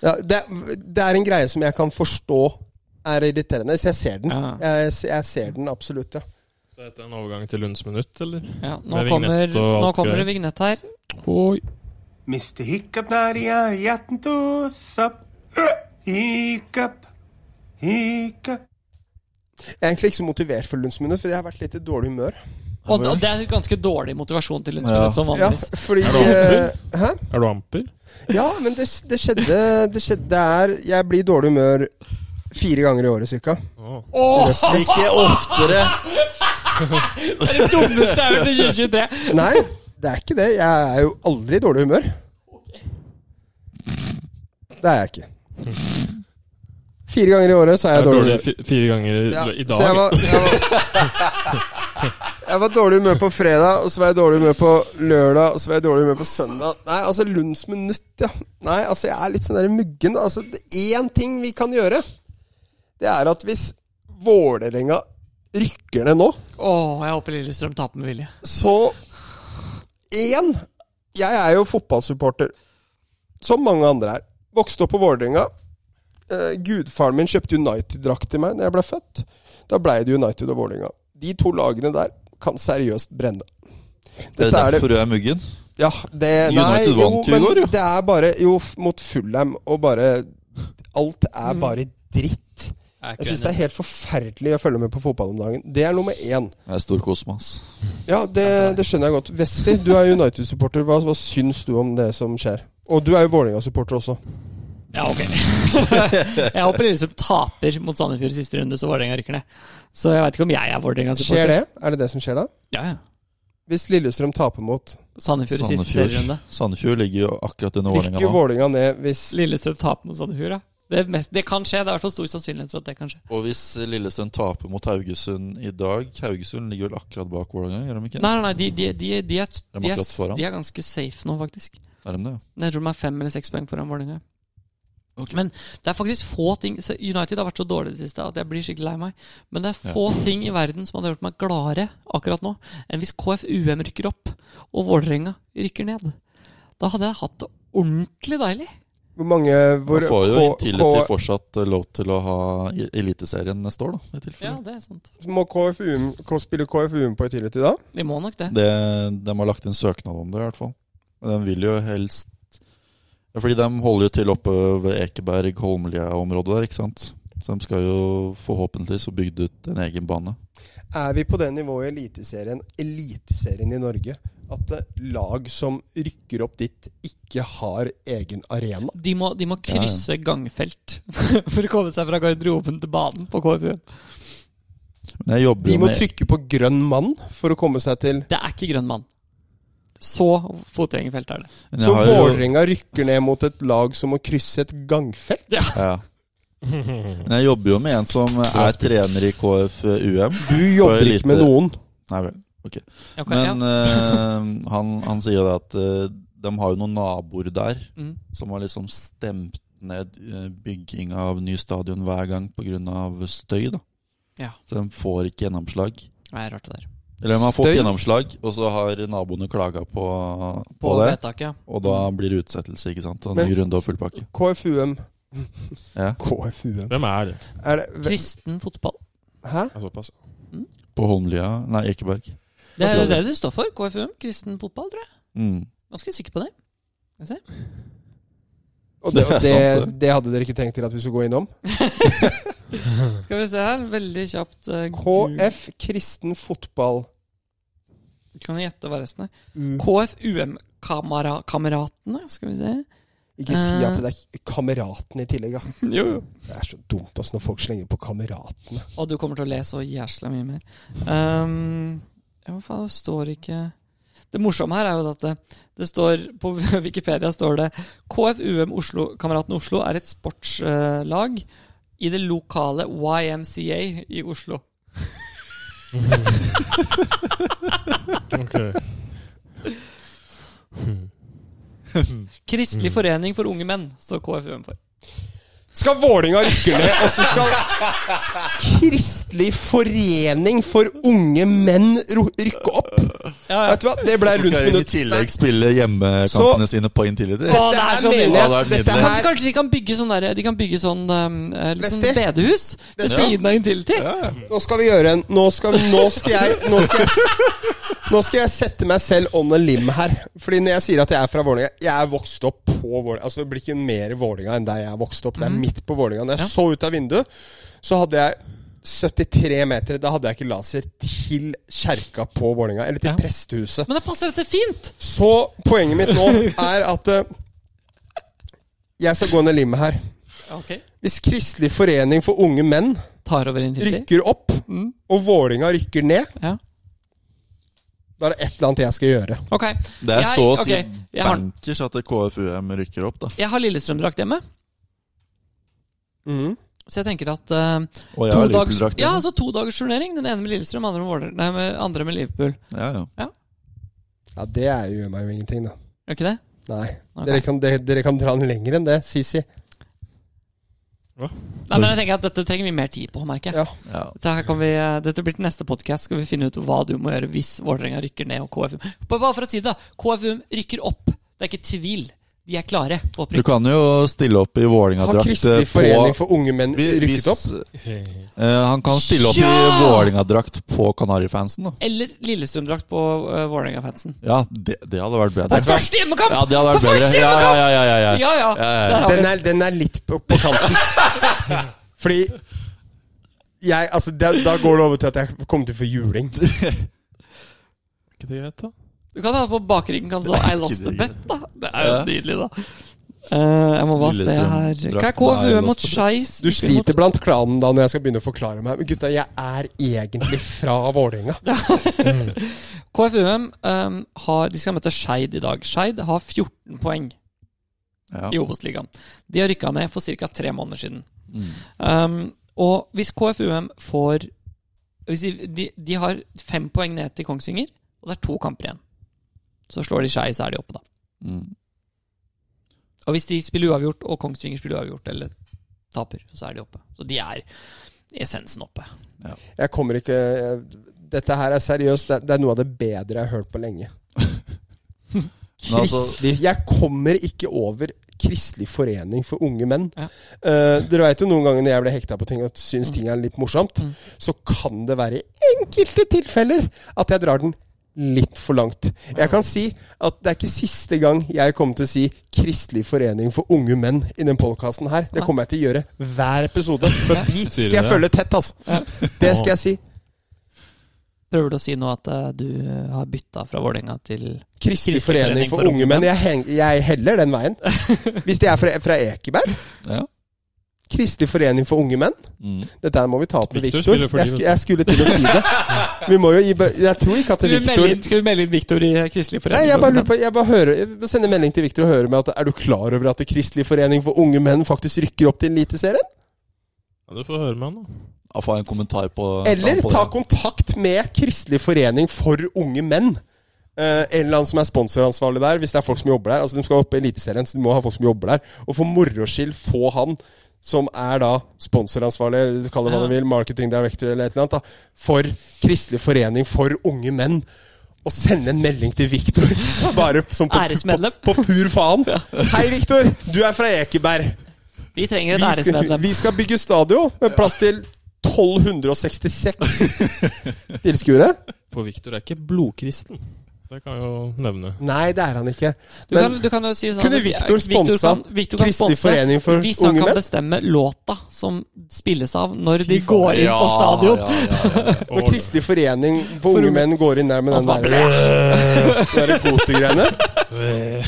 ja, det, det er en greie som jeg kan forstå er irriterende. Så jeg ser den. Ja. Jeg, jeg ser den absolutt, ja. Så er dette en overgang til Lunds minutt, eller? Ja, nå, Med kommer, vignett og nå alt kommer det greier. vignett her. Oi. Mr. Hiccup, naughty, uh, yatten to sup. Hiccup, hiccup. Jeg er egentlig ikke så motivert for Lundsminnet, for jeg har vært litt i dårlig humør. Og det, og det er ganske dårlig motivasjon til en Ja. student som Ja, vanligvis. <laughs> fordi Er du eh, Hæ? Er du amper? Ja, men det, det skjedde Det skjedde det er Jeg blir i dårlig humør fire ganger i året, cirka. Å. Ikke oftere! <laughs> Det dummeste er vel til 2023. Nei, det er ikke det. Jeg er jo aldri i dårlig humør. Det er jeg ikke. Fire ganger i året så er Er jeg du dårlig. dårlig fi- fire ganger i, Ja, så i jeg dag? var, jeg, var, jeg var dårlig humør på fredag, og så var jeg dårlig humør på lørdag, og så var jeg dårlig humør på søndag. Nei, altså Lunds minutt, ja. Nei, altså jeg er litt sånn der muggen. Altså, det- én ting vi kan gjøre, det er at hvis Vålerenga rykker ned nå, Åh, jeg håper Lillestrøm taper med vilje. så Én Jeg er jo fotballsupporter, som mange andre er. Vokste opp på Vålerenga. Eh, gudfaren min kjøpte United-drakt til meg da jeg ble født. Da blei det United og Vålerenga. De to lagene der kan seriøst brenne. Det er Dette er det- derfor du er muggen. Ja, det Nei, United jo, vant jo i men går, jo. det er bare Jo, f- mot Fulham og bare Alt er bare dritt. Jeg syns det er helt forferdelig å følge med på fotball om dagen. Det er nummer én. Jeg er stor kosmas. Ja, det, det skjønner jeg godt. Vesti, du er United-supporter. Hva, hva syns du om det som skjer? Og du er jo Vålerenga-supporter også. Ja, ok. <laughs> jeg håper Lillestrøm taper mot Sandefjord i siste runde, så Vålerenga rykker ned. Så jeg veit ikke om jeg er Skjer Vålerenga-supporter. det? Er det det som skjer da? Ja, ja. Hvis Lillestrøm taper mot Sandefjord i siste Sandefjord. serierunde. Sandefjord ligger jo akkurat under Vålerenga Rykker nå. Vålerenga ned hvis Lillestrøm taper mot Sandefjord, ja. Det, er mest, det kan skje. Det er i hvert fall stor sannsynlighet for at det kan skje. Og hvis Lillesund taper mot Haugesund i dag Haugesund ligger vel akkurat bak Vålerenga, gjør de ikke? Nei, nei, nei, de, de, de, de, er, er de, akkurat er, foran. de er ganske safe nå, faktisk. Er de det? ja? Jeg tror de er fem eller seks poeng foran Vålerenga. Ok. Men det er faktisk få ting se, United har vært så dårlig i det siste at jeg blir skikkelig lei meg. Men det er få ting i verden som hadde gjort meg gladere akkurat nå enn hvis KFUM rykker opp og Vålerenga rykker ned. Da hadde jeg hatt det ordentlig deilig. Hvor mange hvor, Man får jo K- inntil K- fortsatt eh, lov til å ha i- Eliteserien neste år, da. I Ja, tilfelle. det er sant. Må KFUM K- spille KFUM på et tidlig tid da? De må nok det. Det, de har lagt inn søknad om det, i hvert fall. Men De vil jo helst ja, Fordi de holder jo til oppe ved Ekeberg, Holmlia-området der, ikke sant. Så de skal jo forhåpentligvis få bygd ut en egen bane. Er vi på det nivået i Eliteserien, Eliteserien i Norge, at eh, lag som rykker opp dit, ikke har egen arena? De må, de må <laughs> krysse gangfelt for å komme seg fra garderoben til banen på KFUM. Men jeg jobber De jo må med trykke på grønn mann for å komme seg til Det er ikke grønn mann. Så fotgjengerfelt er det. men jeg Så har jo- Vålerenga rykker ned mot et lag som må krysse et gangfelt? Ja. Men jeg jobber jo med en som er trener i KFUM. Du jobber lite- ikke med noen. Nei vel. Ok. Ok, Men ja. eh, han, han sier jo det at eh, de har jo noen naboer der mm. som har liksom stemt ned eh, bygging av ny stadion hver gang pga. støy. da Ja. Så de får ikke gjennomslag. Nei, rart det der. Eller de har fått Støy? gjennomslag, og så har naboene klaga på, på, På det. vedtaket, ja. Og da blir det utsettelse, ikke sant. Og Men- ny runde og full pakke. KFUM. Ja. KFUM Hvem er det? Er det Kristen fotball. <laughs> Hæ? Ja, såpass. På Holmlia Nei, Ekeberg. Det er Altså- det det står for. KFUM, kristen fotball, tror jeg. Mm. Ganske sikker på det. Og det, Det og det, er sant, det. det hadde dere ikke tenkt til at vi skulle gå innom? Skal vi se her, veldig kjapt. eh, KF Kristen Fotball. Gud, Kan jeg gjette hva resten er? U. KFUM-kameratene, skal vi se. Ikke si at det er Kameraten i tillegg, da. Jo, jo. Det er så dumt altså, når folk slenger på Kameratene. Og du kommer til å le så jæsla mye mer. Ehm, ja, hva faen, det står ikke Det morsomme her er jo at det, det står På <laughs> Wikipedia står det KFUM Oslo, Kameraten Oslo er et sportslag i det lokale YMCA i Oslo. <laughs> Kristelig forening for unge menn, står KFUM for. Skal Vålinga rykke ned, og så skal Kristelig forening for unge menn ro- rykke opp? Ja, ja. Vet du hva, det ble Så rundt skal de i minutt. tillegg spille hjemmekampene sine på Intility. Å, det Dette er her så nydelig. mener Ja, jeg. det er Dette nydelig. Kanskje, her kanskje de kan bygge sånn der, De kan bygge sånn ehm, eh, litt sånn Vesti? bedehus ved Vesti? siden av Intility. Nå skal vi gjøre en Nå skal, vi, nå skal jeg nå skal jeg, s- nå skal jeg sette meg selv on a lim her. Fordi når jeg sier at jeg er fra Vålinga Jeg er vokst opp på Vålinga. Altså, det blir ikke mer Vålinga enn der jeg er vokst opp. Det Mm. er midt på Vålinga. Når jeg så ut av vinduet, så hadde jeg 73 meter. Da hadde jeg ikke laser til kjerka på Vålinga. Eller til Ja. prestehuset. Men det passer dette fint! Så poenget mitt nå er at eh, Jeg skal gå ned limet her. Ok Hvis Kristelig forening for unge menn Tar over Intility. rykker opp, og Vålinga rykker ned, Ja. da er det et eller annet jeg skal gjøre. Ok. Det er Jeg- så å si ok, jeg har- bankers at KFUM rykker opp, da. Jeg har Lillestrøm-drakt hjemme, Mhm. så jeg tenker at eh, Og jeg to, har dagers, Liverpool-drakt. ja, altså to dagers turnering. Den ene med Lillestrøm, andre med, Våler, nei, med, andre med Liverpool. ja, ja. Ja, det er, gjør meg jo ingenting, da. Gjør ikke det? Nei. Ok. Dere, kan, dere, dere kan dra den lenger enn det, Sisi. Nei, men jeg tenker at Dette trenger vi mer tid på, merker jeg. Ja. Ja. Dette, her kan vi, eh, dette blir til neste podkast. Skal vi finne ut hva du må gjøre hvis Vålerenga rykker ned og KFUM Bare bare for å si det, da. KFUM rykker opp. Det er ikke tvil. De er klare. på Du opprykk. kan jo stille opp i Har Vålerenga-drakt Kristelig forening for unge menn rykket opp? Eh, han kan stille opp i Ja! Vålerenga-drakt på Kanarifansen, da. Eller Lillestrøm-drakt på uh, Vålerenga-fansen. Ja, det, det hadde vært bedre. På første hjemmekamp! Ja, det hadde vært På bedre. første Ja, ja, hjemmekamp! ja, ja, ja, ja. Ja, ja. Der har vi Den er, den er litt på, på kanten. <laughs> Fordi jeg, altså, da, da går det over til at jeg kommer til å få juling. Ikke det greit, da? Du kan ha på bakryggen kan det stå 'I lost the bet', da. Det er jo Ja. nydelig, da. Eh, jeg må bare se Lillestrøm her Hva er drakten er KFUM mot lost the bet. Skeis? Du sliter blant klanen da når jeg skal begynne å forklare meg. Men gutta, jeg er egentlig fra Vålerenga. KFUM um, har, de skal møte Skeid i dag. Skeid har 14 poeng Ja. i Obos-ligaen. De har rykka ned for ca. tre måneder siden. Mm. Um, og hvis KFUM får hvis de, de, de har fem poeng ned til Kongsvinger, og det er to kamper igjen. Så slår de Skei, så er de oppe, da. Mm. Og hvis de spiller uavgjort, og Kongsvinger spiller uavgjort eller taper, så er de oppe. Så de er i essensen oppe. Jeg kommer ikke jeg, Dette her er seriøst. Det, det er noe av det bedre jeg har hørt på <laughs> lenge. Men altså, Kristelig Jeg kommer ikke over Kristelig forening for unge menn. Ja. Eh, dere veit jo noen ganger når jeg blir hekta på ting og syns ting er litt morsomt, så kan det være i enkelte tilfeller at jeg drar den litt for langt. Jeg kan si at det er ikke siste gang jeg kommer til å si Kristelig forening for unge menn i den podkasten her. Det kommer jeg til å gjøre hver episode, for de Sier du skal jeg det? følge tett, altså. Det skal jeg si. Prøver du å si nå at eh, du har bytta fra Vålerenga til Kristelig forening for <laughs> unge menn. Jeg, heng, jeg heller den veien. Hvis de er fra, fra Ekeberg, ja. Kristelig forening for unge menn. Mm. Dette her må vi ta opp med Victor Viktor. spiller for de, Jeg, sku- vet du. jeg skulle til å si <laughs> det. Vi må jo gi be- Jeg tror ikke at Skal vi melde Viktor inn- skal vi melde inn Victor i Kristelig Nei, forening? jeg bare lurer på Jeg bare hører jeg må sende melding til Viktor og høre med at er du klar over at Kristelig forening for unge menn faktisk rykker opp til Eliteserien? Ja, du får høre med han, da. Ja, Få en kommentar på Eller på ta det. kontakt med Kristelig forening for unge menn. Eh, en eller annen som er sponsoransvarlig der, hvis det er folk som jobber der. Altså, De skal opp i Eliteserien, så de må ha folk som jobber der. Og for moro skyld få han som er da sponsoransvarlig, eller kall det hva Ja. du vil, marketing director eller et eller annet, da, for Kristelig forening for unge menn. Og sende en melding til Viktor, <laughs> bare som på, på, Æresmedlem. på pur <laughs> faen. Hei, Viktor! Du er fra Ekeberg. Vi trenger et Vi skal, æresmedlem. vi skal bygge stadion med plass til <laughs> 1266 tilskuere. For Viktor er ikke blodkristen. Det kan jeg jo nevne. Nei, det er han ikke. Du kan, Men du kan jo si sånn Kunne at- Victor Victor sponsa kan- Victor kan Kristelig sponse forening for Hvis han unge kan menn? bestemme låta som spilles av når de faen. går inn på stadion. Ja, ja, ja, <laughs> ja. Og- når Kristelig forening for unge menn går inn der med den Altså, der, den der <laughs> gotegreiene Øh,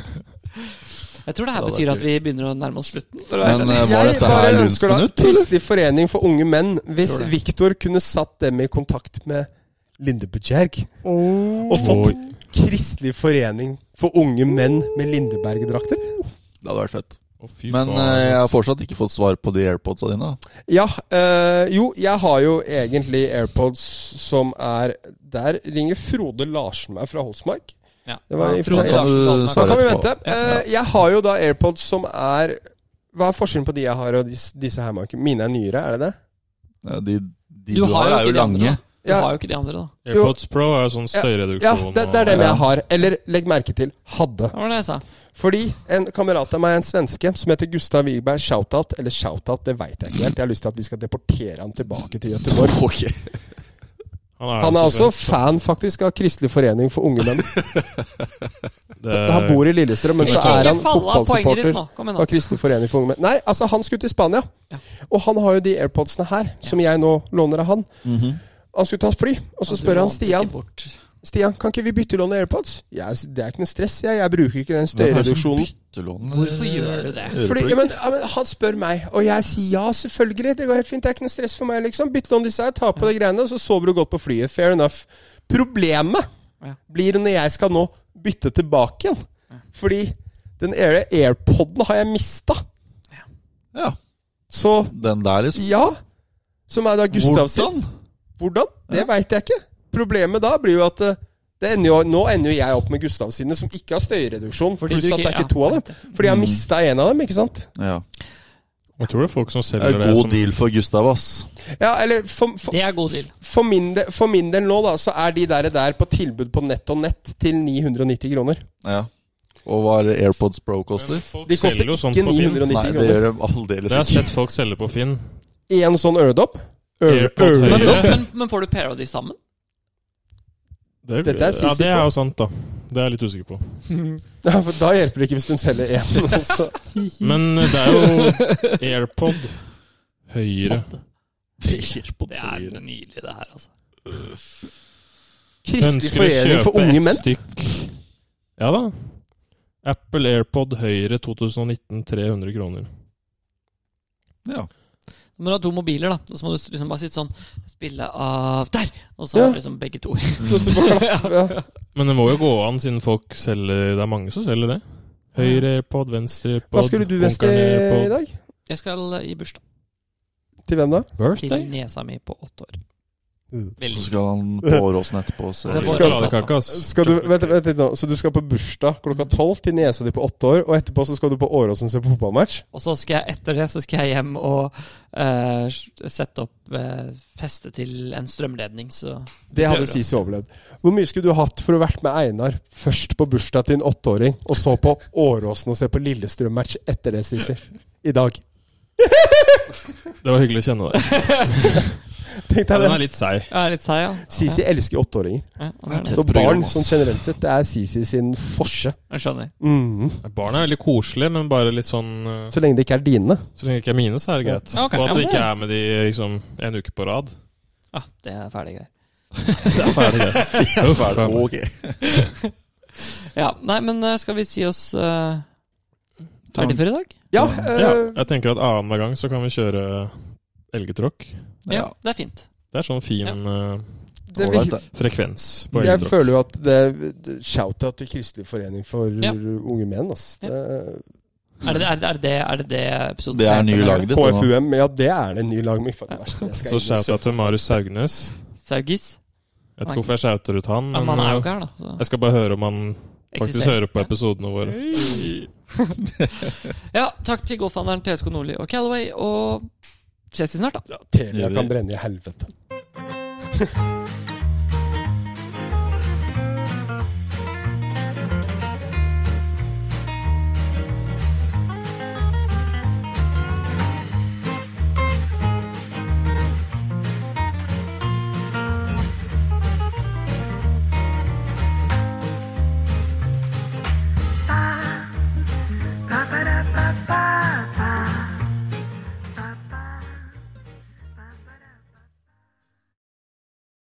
Jeg tror det her Ja, det er betyr at vi begynner å nærme oss slutten. For å være Men ærlig. eh, var Jeg dette her bare Lunds ønsker da minutt, eller? Kristelig forening for unge menn hvis Tror det. Viktor kunne satt dem i kontakt med Linde Bujerg. Og fått Oi. Kristelig forening for unge menn med Lindeberg-drakter. Det hadde vært fett. Å, fy Men faen, eh, jeg har altså. ass. fortsatt ikke fått svar på de airpodsa dine. da. Ja, øh, jo, jeg har jo egentlig AirPods som er Der ringer Frode Larsen meg fra Holsmark. Ja. Det var i og for Frode seg- Da kan du Larsen, Da svare Dahlmark. kan vi etterpå. vente. Eh, jeg har jo da AirPods som er Hva er forskjellen på de jeg har og disse, disse her, Mark? Mine er nyere, er det det? Ja, Eh, De, Du de du, har har, jo er ikke jo de andre, lange. Du Ja. har jo ikke de andre, da. AirPods Pro er jo sånn Ja, støyreduksjon. det, det er og- dem jeg har. Eller legg merke til hadde. Det var det jeg sa. Fordi en kamerat av meg, en svenske som heter Gustav Wiberg, shoutout Eller shoutout, det veit jeg ikke helt. Jeg har lyst til at vi skal deportere han tilbake til Göteborg. Ok. Han er jo også svensk, fan faktisk av Kristelig forening for unge menn. så det- Han bor i Lillestrøm, men Ikke- så er han ikke fall av poenget ditt fotballsupporter nå. Kom igjen nå. av Kristelig forening for unge menn. Nei, altså, han skulle til Spania. Ja. Og han har jo de airpodsene her, som jeg nå låner av han. Han skulle ta et fly, og så Du spør han lånte Stian ikke bort. Stian, kan ikke vi bytte lån av airpods. Ja, s- det er ikke noe stress, jeg. Jeg bruker ikke den sånn støyreduksjonen. Hvorfor gjør du det? Fordi, ja, men, ja, men Han spør meg, og jeg sier ja, selvfølgelig. Det går helt fint. Det er ikke noe stress for meg, liksom. Bytt lån disse her, ta på de greiene, og så sover du godt på flyet. Fair enough. Problemet Ja. blir når jeg skal nå bytte tilbake igjen. Fordi den air- airpoden har jeg mista. Ja, Så den der, liksom. ja. Som er da Gustav sin. Hvordan? Hvordan? Det veit jeg ikke. Problemet da blir jo at eh, det ender jo, nå ender jo jeg opp med Gustav sine, som ikke har støyreduksjon. Fordi pluss du at det ikke- er ikke ja. Mm. to av dem. Fordi jeg har mista en av dem, ikke sant? Ja. Jeg tror det er folk som Det er selger det god som deal for Gustav, ass. Ja, eller for, for, Det er god deal. for, min del, for min del nå, da, så er de der, der på tilbud på nett og nett til 990 kroner. Ja. Og hva er det AirPods Pro koster? Folk De koster selger jo sånn ikke på Finn. 990 Nei, det kroner. gjør de aldeles Jeg <laughs> har ikke. sett folk selge på Finn. Én sånn øredopp. Øre- AirPod øre- Men, Høyre. men, men får du pair av de sammen? Det, Dette er ja, Sisi det er på. jo sant, da. Det er jeg litt usikker på. <laughs> Ja, for Da hjelper det ikke hvis de selger én. altså. Men eh, det er <laughs> jo AirPod høyere. Det er nydelig, det her, altså. Kristelig Ønsker å forening for kjøpe unge ett menn. stykk Ja da. Apple AirPod høyre 2019 300 kroner. Ja. Du må du ha to mobiler, da. Og så må du liksom bare sitte sånn Spille av der! Og så Ja. har du liksom begge to. <laughs> Ja. Men det må jo gå an, siden folk selger Det er mange som selger det. Høyre AirPod, venstre AirPod Hva skulle du veste onkelen i AirPod. dag? Jeg skal eh, i bursdag Til hvem da? til Birthday? niesa mi på åtte år. Så Veldig skal han på Åråsen etterpå. Så. Så jeg får- Skal Sjokoladekake, ass. Skal du, vent, vent litt nå Så du skal på bursdag klokka tolv til niesa di på åtte år, og etterpå så skal du på Åråsen se på fotballmatch? Og så skal jeg etter det så skal jeg hjem og eh, sette opp eh, feste til en strømledning, så Det hadde Prøver, da. Sisi overlevd. Hvor mye skulle du hatt for å vært med Einar først på bursdag til en åtteåring, og så på Åråsen og se på Lillestrøm-match etter det, Sisi? I dag. Det var hyggelig å kjenne deg. Tenk Ja, deg den det. er litt seig. Jeg er litt seig, ja. Sisi elsker åtteåringer. ja, han er det. Så program, barn ass. sånn generelt sett, det er Sisi sin forse. Jeg skjønner. Mhm. Barna er veldig koselige, men bare litt sånn eh, Så lenge det ikke er dine. Så lenge det ikke er mine, så er det greit. Ja, ok. Og Ja, at det men ikke det- er med de liksom, en uke på rad. Ja, det er ferdig greier. Det er ferdig, <laughs> greit. Uff, Ferdig. faen. Ok. Ja, nei, men eh, skal vi si oss eh, Ferdig for i dag? Ja, Ja, eh, jeg tenker at annenhver gang så kan vi kjøre elgetråkk. Ja. det er fint. Det er sånn fin eh, det, Ålreit, vi- det. frekvens på jeg elgetråkk. føler jo at det, det Shout-out til Kristelig forening for Ja. unge menn. ass. Ja. Det, Er det er det, er det, er det, det episoden Det er heter? ny lagret. det nå. KFUM, ja, det er det en ny lag med. Faen, det verste. Jeg skal Så inn og shouta til Marius Saugnes. Saugis. Jeg vet ikke hvorfor jeg shouter ut han, Men han men er jo eh, ikke her, da. Så. jeg skal bare høre om han faktisk Eksisterer. hører på episodene våre. Ja, takk til golfhandleren TSK Nordli og Callaway, og ses vi snart, da. søke. Telia kan brenne i helvete.